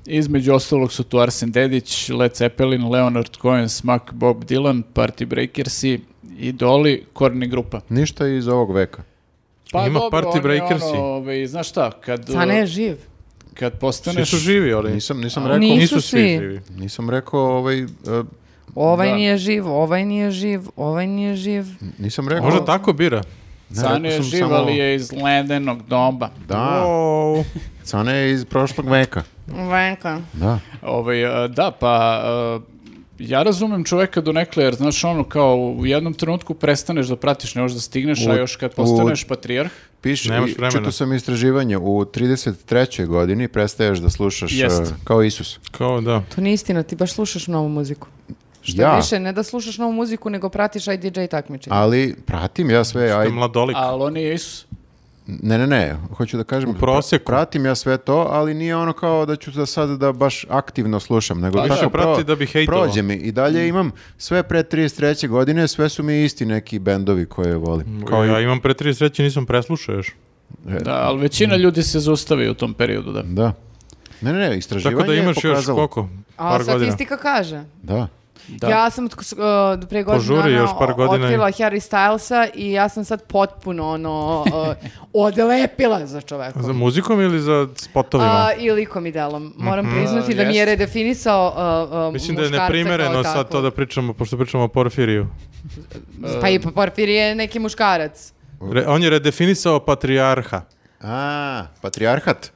Između ostalog su tu Arsen Dedić, Led Zeppelin, Leonard Cohen, Smak, Bob Dylan, Party Breakersi, Idoli, Korni grupa. Pa Ništa iz ovog veka. Ima dobro, Party on je Breakersi. Ono, ovaj, znaš šta, kad, Cane je Pa živ. kad Svi postaneš... su živi, ali Nisam, nisam rekao, Nisu nisu svi. svi živi. nisam rekao ovaj, e, Ovaj Da. nije živ, ovaj nije živ, ovaj nije živ. nisam rekao. Možda tako bira. Cane je rekao sam živ, samo- ali je iz ledenog doba. Da, Wow. Cane je iz prošlog veka. Venka. Da. Ovaj, e, da, pa e, ja razumem čoveka do nekle, jer znaš ono kao u jednom trenutku prestaneš da pratiš, ne možeš da stigneš, a U- još kad postaneš patrijarh, Piše, Nemaš i vremena. čitao sam istraživanje, u 33. godini prestaješ da slušaš Jest. uh, kao Isus. Kao da. To nije istina, ti baš slušaš novu muziku. Što ja, više, ne da slušaš novu muziku, nego pratiš IDJ takmičenje. ali pratim ja sve, Aj, aj, mladolik. ali on je Isus. ne, ne, ne, hoću da kažem, U prosjeku. pratim ja sve to, ali nije ono kao da ću za sad da baš aktivno slušam, nego Pa tako više prati da bi hejtovao. Mm. prođe mi i dalje imam sve pre 33. godine, sve su mi isti neki bendovi koje volim. Kao i- ja imam pre 33, nisam preslušao još. E, Da, ali većina mm. ljudi se zaustavi u tom periodu, da. Da. Ne, ne, ne, istraživanje Tako da imaš je pokazalo. još koliko? A Par godina. statistika kaže. Da. Ja sam tko- s- uh, do pre godinu Požuri dana još par godina i- otkrila Harry Stylesa i ja sam sad potpuno ono, [LAUGHS] uh, odlepila za čovekom. Za muzikom ili za spotovima? A, I likom i delom. Moram priznati A, da mi je jest. redefinisao uh, uh, Mhm. Mislim da je muškarca kao neprimereno sad takvog. to da pričamo, pošto pričamo o Porfiriju. Pa uh, i Porfir je neki muškarac. Re- on je redefinisao patrijarha. A, patrijarhat.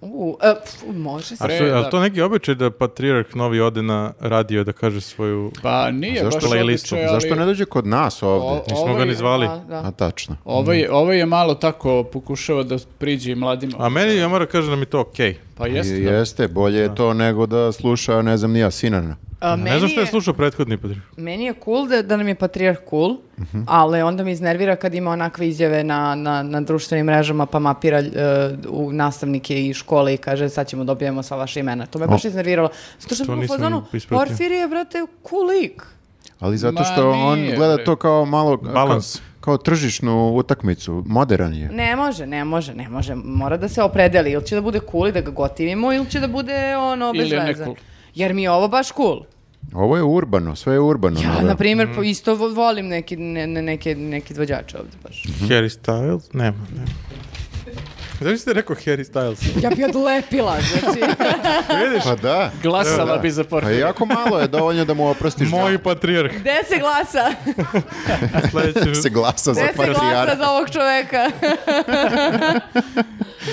U, e, pf, može se. A Pre, su, a da. to neki običaj da patrijarh novi ode na radio da kaže svoju... Pa nije Zašto baš playlistu? običaj, ali Zašto ne dođe kod nas o- ovde? Nismo ga ovaj- ni zvali. Da, da. A, tačno. Ovaj, Mm. ovaj je malo tako pokušava da priđe i mladima. A meni, ja moram kažem da mi je to okej. Pa jeste, I- da. Jeste, bolje je to nego da sluša, ne znam, nija Sinana. A, Ne Uh, znam meni što je je- slušao prethodni patrijarh. Meni je cool da, da nam je patrijarh cool, Mhm. ali onda me iznervira kad ima onakve izjave na, na, na društvenim mrežama pa mapira e, u nastavnike i škole i kaže sad ćemo dobijemo sva vaša imena. To me baš iznerviralo. Zato što To sam u nisam fazonu, ispratio. Porfir je, brate, cool lik. Ali zato Ma, što on nije, gleda bre. to kao malo... Balans. Kao, kao tržišnu utakmicu, moderan je. Ne može, ne može, ne može. Mora da se opredeli. Ili će da bude cool i da ga gotivimo, ili će da bude ono bez Ili je ne veze. cool. Jer mi je ovo baš cool. Ovo je urbano, sve je urbano. Ja, nove. na primjer, Mhm. po- isto vo- volim neki, ne, ne- neke, neke izvođače ovdje baš. Harry Styles? Nema, nema. Zašto ste rekao Harry Styles? [LAUGHS] Ja bi odlepila, [LAUGHS] znači. Vidiš? Pa da. Glasala Da. bi za Pa Porfirija. jako malo je dovoljno da mu oprostiš. Moj patrijarh. Gde se glasa? da Sledeći... se glasa za Gde se glasa patrijarha. za ovog čoveka?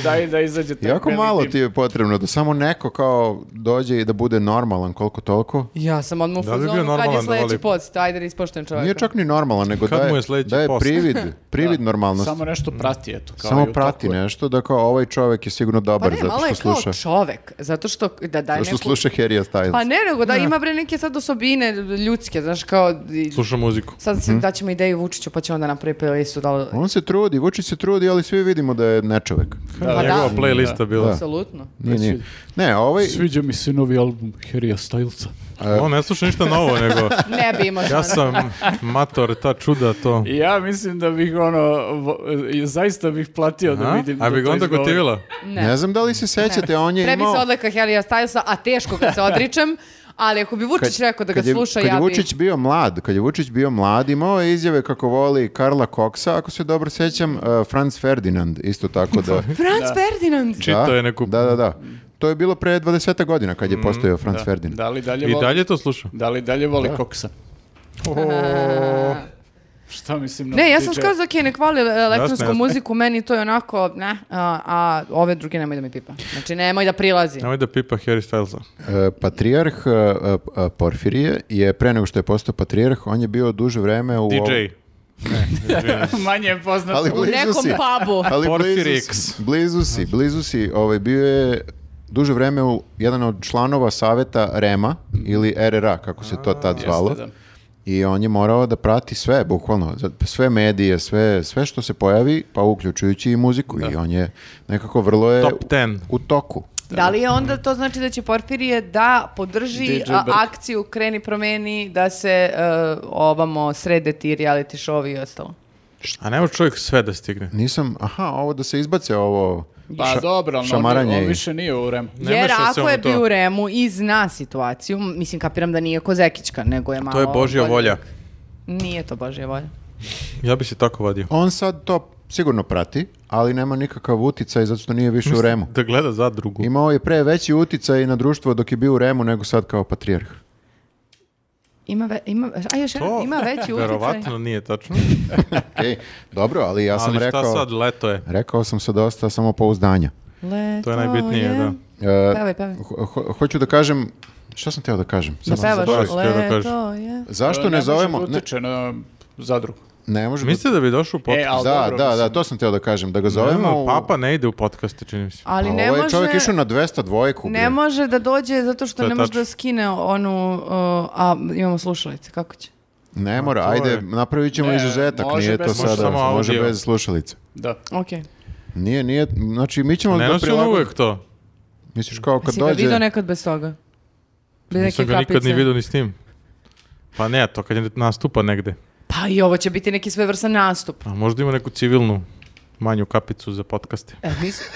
Daj da izađe taj Jako beli malo dim. ti je potrebno da samo neko kao dođe i da bude normalan koliko toliko. Ja sam odmah u Da li bi bio fazonu kad je normalan da sledeći voli? post. Ajde da ispoštujem čoveka. Nije čak ni normalan, nego Kad mu daje, je sledeći daje [LAUGHS] post? privid, privid normalnosti. Samo nešto prati, eto. Kao i u ono- Samo toku prati je. nešto da kao ovaj čovek je sigurno Pa dobar ne, malo zato je što kao sluša. čovek. Zato što da Zato daje što neku... sluša Harry Styles. Pa ne, nego da ima bre neke sad osobine ljudske, znaš kao... i- Slušao muziku. Sad Mhm. se daćemo ideju Vučiću pa će onda napraviti playlistu. Da li... On se trudi, Vučić se trudi, ali svi vidimo da je nečovek. Da, Pa Njegova da. playlista bila. Apsolutno. Znači, Nije, nije. Ne, ovaj, Sviđa mi se novi album Harrya Stylesa. e. On ne sluša ništa novo, [LAUGHS] nego... Ne bi imao Ja šanse. sam mator, ta čuda, to... Ja mislim da bih ono, vo- i zaista bih platio da A, vidim. a da bi to ga onda izgovori. gotivila? ne. znam da li se sećate, on je Pre bi se imao... odleka Helija Stylesa, a teško [LAUGHS] kad se odričem, ali ako bi Vučić rekao da ga kad je, sluša, kad je ja bi... Vučić bio mlad, kad je Vučić bio mlad, imao je izjave kako voli Karla Koksa, ako se dobro sećam, uh, Franz Ferdinand, isto tako [LAUGHS] da... Franz Ferdinand! Čitao je neku... Mm, Da, da, da. To je bilo pre 20 godina kad je postojao Franz Ferdinand. Da li dalje I voli, dalje to [LAUGHS] sluša. da li dalje voli koksa? A. Šta mislim na Ne, ja sam DJ? skoro za okay, nek voli elektronsku jasno. muziku, meni to je onako, ne, a, a ove druge nemoj da mi pipa. Znači, nemoj da prilazi. Nemoj da pipa Harry Stylesa. E, Patrijarh e, e, e, Porfirije je pre nego što je postao patrijarh, on je bio duže vreme u... DJ. E, [LAUGHS] Manje je poznato. Ali U blizu nekom si. pubu. [LAUGHS] Ali Porfirij blizu si, X. blizu si, blizu si. Ovaj, bio je duže vreme u jedan od članova saveta REMA ili RRA, kako se to tad zvalo. da. I on je morao da prati sve, bukvalno, za- sve medije, sve, sve što se pojavi, pa uključujući i muziku. I on je nekako vrlo je Top 10. u toku. Da li je onda to znači da će Porfirije da podrži DJ a, Brk. akciju Kreni promeni da se e, ovamo srede ti reality show i ostalo? A nema čovjek sve da stigne. Nisam, aha, ovo da se izbace ovo... Pa ša- dobro, ali on, šamaranje i- on više nije u REM. Ne Jer meša ako se on je u to. bio u Remu i zna situaciju, m, mislim kapiram da nije Kozekićka, nego je malo... To je Božja bolji volja. lik. Nije to Božja volja. Ja bi se tako vadio. On sad to sigurno prati, ali nema nikakav uticaj zato što nije više u E Remu. Da gleda zadrugu. E Imao je pre veći uticaj na društvo dok je bio u Remu nego sad kao patrijarh. Ima, ve, ima, a još jedan, ima veći [LAUGHS] utjecaj. verovatno nije tačno. [LAUGHS] Okej, dobro, ali ja sam ali šta rekao... sad, leto je. Rekao sam sa dosta samopouzdanja. Leto To je najbitnije, da. E, Pevaj, pevaj. ho- ho- hoću da kažem... Šta sam teo da kažem? Da Sad sam pevaš, zaboravio. zaboravio sam teo da leto kažem. je. Zašto E, ne može zovemo... da Ne, utiče na zadrugu. ne može da- Mislite da bi došao u podcast? E, ali da, dobro, da, da, mislim. to sam teo da kažem, da ga zovemo... u- Papa ne ide u podcaste, čini mi se. Pa Ali ne ovaj može... čovjek išao na 200 dvojku. bre. Ne može da dođe zato što To je ne može tačno. da skine onu, uh, a imamo slušalice, kako će? Ne mora, to ajde, je- napravit ćemo Ne, izuzetak, može nije bez- to može sada, samo može audio. bez slušalice. Da. Ok. Nije, nije, znači mi ćemo Pa Ne da nosi on prilagodimo. uvek to. Misliš kao kad Jesi ga vidio dođe, nekad bez toga? Bez Nisam neke ga nikad kapice? ni vidio ni s tim. Pa ne, to kad je nastupa negde. Pa i ovo će biti neki svevrsan nastup. A možda ima neku civilnu manju kapicu za podcaste. E, mislim- [LAUGHS]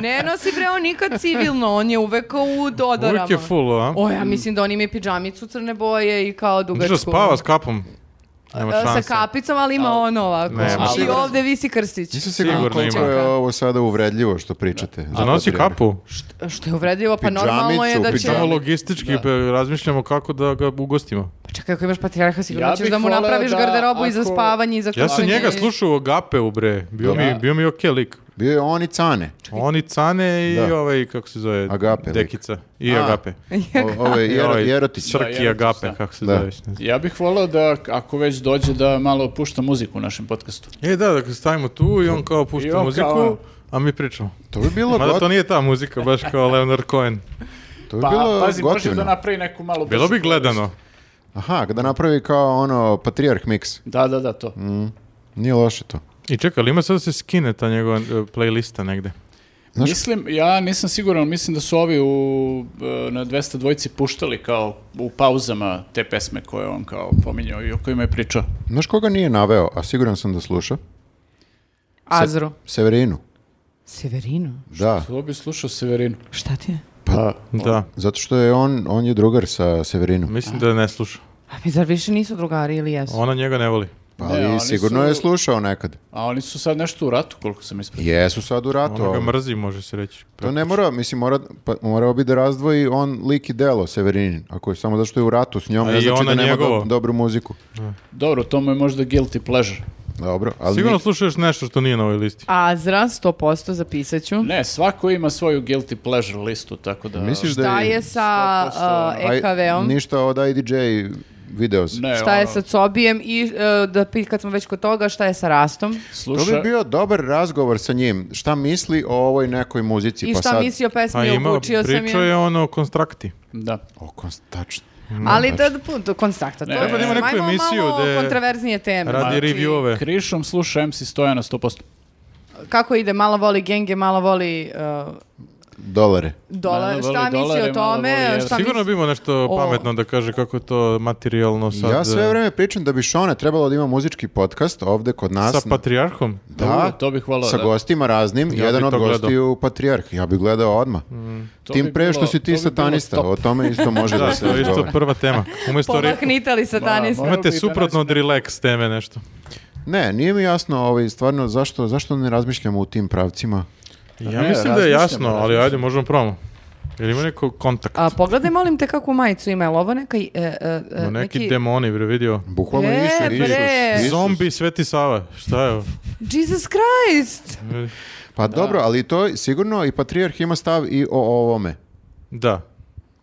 ne nosi bre on nikad civilno, on je uvek u dodarama. Uvijek je full, a? O, ja mislim da on ima i pidžamicu crne boje i kao dugačku. Znaš da spava s kapom. Nema E, šanse. Sa kapicom, ali ima ono ovako. Ne, ma I sigurno. ovde visi krstić. nisam siguran Sigurno koliko ima. je ovo sada uvredljivo što pričate. za A nosi potrebe. kapu. Što- Što je uvredljivo, pa Pidžamicu, normalno je da će... pidžamicu. Samo logistički pe- razmišljamo kako da ga ugostimo. Pa čekaj, ako imaš patrijarha, sigurno Ja ćeš bih da mu voleo napraviš da garderobu i za ako- spavanje i za Ja sam kuhanje. njega slušao u Agapeu, bre. Bio mi, bio mi okej lik. Bio je on i Cane, Oni Cane i Da. ovaj, kako se zove, Agape lik. Dekica. I A. Agape. [LAUGHS] o- ove I ovaj jer, Jerotić. Srki Da, Jerotić, Agape, da. kako se Da. zove. ne znam. Ja bih volao da, ako već dođe, da malo pušta muziku u našem podcastu. E da, da ga stavimo tu i on kao pušta I on muziku, kao- a mi pričamo. To bi bilo, Mada to got, nije ta muzika, baš kao Leonard Cohen. to bi Pa, bilo pazi, može gotivno. da napravi neku malu... Bilo bi brzu gledano. Aha, da napravi kao ono patrijarh mix. Da, da, da, to. Nije loše to. I čekaj, ali ima sad da se skine ta njegova e, playlista negde. Znaš- Mislim, ja nisam siguran, ali mislim da su ovi u, e, na 200 dvojci puštali kao u pauzama te pesme koje on kao pominjao i o kojima je pričao. Znaš koga nije naveo, a siguran sam da sluša? Azru. Severinu. Severino? Da, To bi slušao Severinu. Šta ti je? Pa, Da, zato što je on, on je drugar sa Severinom. mislim da ne sluša. A mi zar više nisu drugari ili jesu? Ona njega ne voli. Pa Ne, ali oni sigurno su- je slušao nekad. a oni su sad nešto u ratu, koliko sam ispratio. Jesu sad u ratu. Ona Ono ga ali- mrzi, može se reći. Pa To ne mora, mislim, mora, pa, morao bi da razdvoji on lik i delo Severinin, ako je samo zašto je u ratu s njom, A ne i znači da ona nema do- njegovo. dobru muziku. Dobro, to mu je možda guilty pleasure. Dobro, ali Sigurno nik- slušaš nešto što nije na ovoj listi. Azra, 100% zapisat ću. Ne, svako ima svoju guilty pleasure listu, tako da... misliš da Šta je sa 100% uh, aj- EKV-om? Ništa od IDJ videos. Ne, Šta je ono, sa Cobijem i uh, da pi- kad smo već kod toga, šta je sa Rastom? To Sluša, bi bio dobar razgovor sa njim. Šta misli o ovoj nekoj muzici? I pa šta sad... misli o Pa pesmi, ima, obučio sam pričao je. je ono o konstrakti. Da. O, konst- tačno. Ali da, Znači. da pun- to konstrakta. To Ne, je, treba da ima mislim, pa neku ajmo emisiju malo gde kontraverznije teme. Radi znači, reviewove. Krišom sluša MC Stojana 100%. Kako ide, malo voli genge, malo voli uh, Dolare. dolar. Malo šta voli misli o dolare, malo tome? voli evre. Šta Sigurno misli- bi imao nešto O. pametno da kaže kako je to materijalno sad. ja sve e, vreme pričam da bi Šone trebalo da ima muzički podcast ovde kod nas. Sa patrijarhom? Da, U, to bih volao, Sa da. gostima raznim, Ja jedan bi od to gledao. gostiju Patrijarh. Ja bih gledao odmah. To Tim bi pre što bilo- si to bi ti bilo satanista, top. o tome isto može da Da, se to je isto razgovara. prva tema. Umesto re... Pomahnite li satanista? Ma, ma- Imate Morao bi da suprotno od nađem relax teme nešto. Ne, nije mi jasno ovaj, stvarno zašto, zašto ne razmišljamo u tim pravcima. Ja ne, mislim da je jasno, razmišljamo, ali ajde, razmišljamo. možemo probamo. Jel ima neko kontakt? A pogledaj molim te kakvu majicu ima, je li ovo neka... e, e, e, Ma neki, neki demoni, bre, vidio. Bukvalno E, Isus, Isus, bre. Isus. Zombi Sveti Sava, šta je ovo? Jesus Christ! Pa dobro, ali to sigurno i Patrijarh ima stav i o ovome. Da.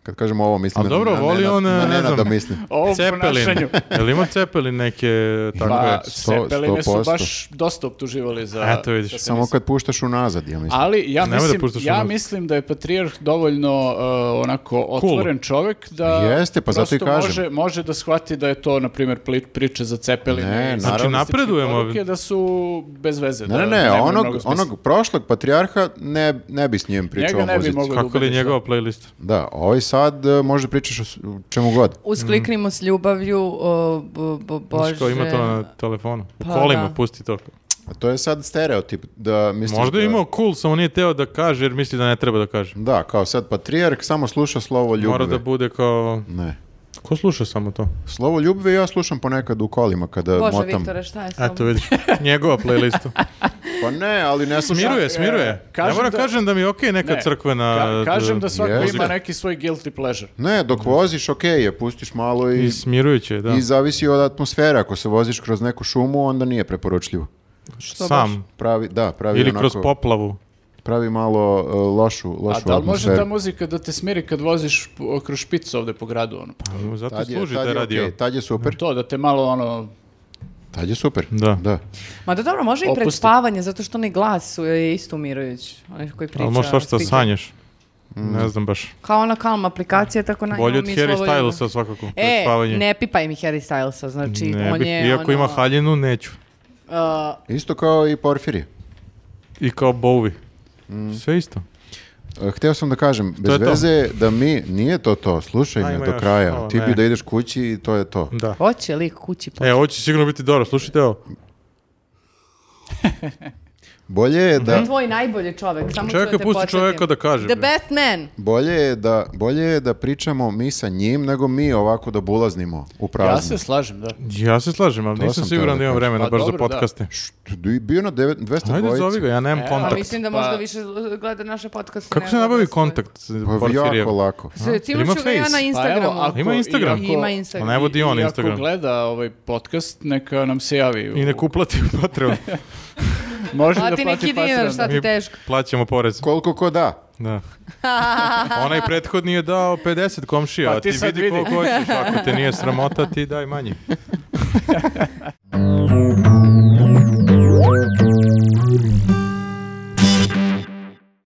Kad kažem ovo, mislim A dobro, voli Nenad- on, na ne Nenada znam. mislim. Ovo Cepelin. ponašanju. Jel ima Cepelin neke Pa, takve? sto- Cepeline sto su posto. baš dosta optuživali za... Eto, E, vidiš. za feminizam. Samo kad puštaš unazad, ja mislim. Ali ja Nemoj da mislim, puštaš ja ono- mislim da je Patrijarh dovoljno uh, onako otvoren čovjek da Jeste, pa zato i prosto kažem. Može, može da shvati da je to, na primjer, pli- priče za Cepelin. Ne, i naravno. Znači, napredujemo. poruke da su bez veze. Ne, da ne, ne, nemaju onog, mnogo smisla. onog prošlog patrijarha ne, ne bi s njim pričao Njega o ne bi muzici. mogao da Kako li je ubediš, njegova playlist? Da, ovaj sad e, može pričaš o s- o čemu god. Uskliknimo s ljubavlju, o, bo, bo, bože. Znaš kao ima to na telefonu. U Pa kolima, da. pusti to. A to je sad stereotip. Da misliš Možda je da- imao cool, samo nije teo da kaže jer misli da ne treba da kaže. Da, kao sad patrijarh samo sluša slovo Mora ljubve. da bude kao... Ne. Ko sluša samo to? Slovo e, ljubve ja slušam ponekad u kolima kada Bože, motam. Viktore, šta je s tobom? [LAUGHS] Eto vidiš, njegova playlista. Pa ne, ali ne slušam. Smiruje, e, smiruje. Ne kažem moram da- kažem da mi je okej neka Ne, crkvena... Ka- kažem da svako jezik. ima neki svoj guilty pleasure. Ne, dok voziš, okej je, pustiš malo i, I smirujuće, da. i zavisi od atmosfere. Ako se voziš kroz neku šumu, onda nije preporučljivo. Sam. Pravi, da, pravi Ili onako, kroz poplavu. pravi malo e, lošu, lošu A da li može atmosferu. ta muzika da te smiri kad voziš po- kroz špicu ovde po gradu? Ono? Pa, Pa Zato Tad je- služi tad taj je radio. okej, tad je super. To, da te malo ono... Tad je super. Da. Ma da dobro, može i pred Opusti. spavanje, zato što onaj glas su je isto umirujući. Onaj koji priča. Ali možeš svašta speaker. sanjaš. Ne znam baš. Kao ona kalma aplikacija, tako na Bolje njemu od mi Harry slobodno- Stylesa svakako. pred E, spavanje. ne pipaj mi Harry Stylesa, znači Ne on bih, je iako ono, ima haljinu, neću. uh, Isto kao i Porfiri. I kao Bowie. Sve isto. E, Hteo sam da kažem, bez je to. veze da mi, nije to to, slušaj A, me ima do još, kraja, o, ti bi ne. da ideš kući i to je to. Da. hoće lik kući po... E, ovo će sigurno biti dobro. Slušajte ovo. Bolje je da, Mhm. Tvoj najbolji čovek, samo ću da Čekaj, te pusti podsjetim. čoveka da kaže. The bre. best man. bolje je da, bolje je da pričamo mi sa njim nego mi ovako da bulaznimo u Ja prazno. se slažem, da. Ja se slažem, ali To sam nisam teo da siguran da imam kažem. vremena Pa baš za dobro, da. podcaste. Što, di- Bio na devet- 202. Ajde, zovi ga, ja nemam E, A kontakt. mislim da Pa- možda više gleda naše podcaste. Kako nego se nabavi gleda svoje. kontakt? s Pa Porfirijev? jako lako. S- cimat Ima ću ga ja face. na Pa Instagramu. Ima Instagram. I Ima Instagram. Pa ne vodi i- on i Instagram. Ako gleda ovaj podcast, neka nam se javi. u- I ne kuplati u Patreon. Može da Plati neki plati dinar, Patreon. šta ti Mi- teško. Plaćamo porez. Koliko ko da? Da. Onaj prethodni je dao 50 komšija, Pa a ti ti sad vidi vidi. koliko hoćeš. Ako te nije sramota, ti daj manje.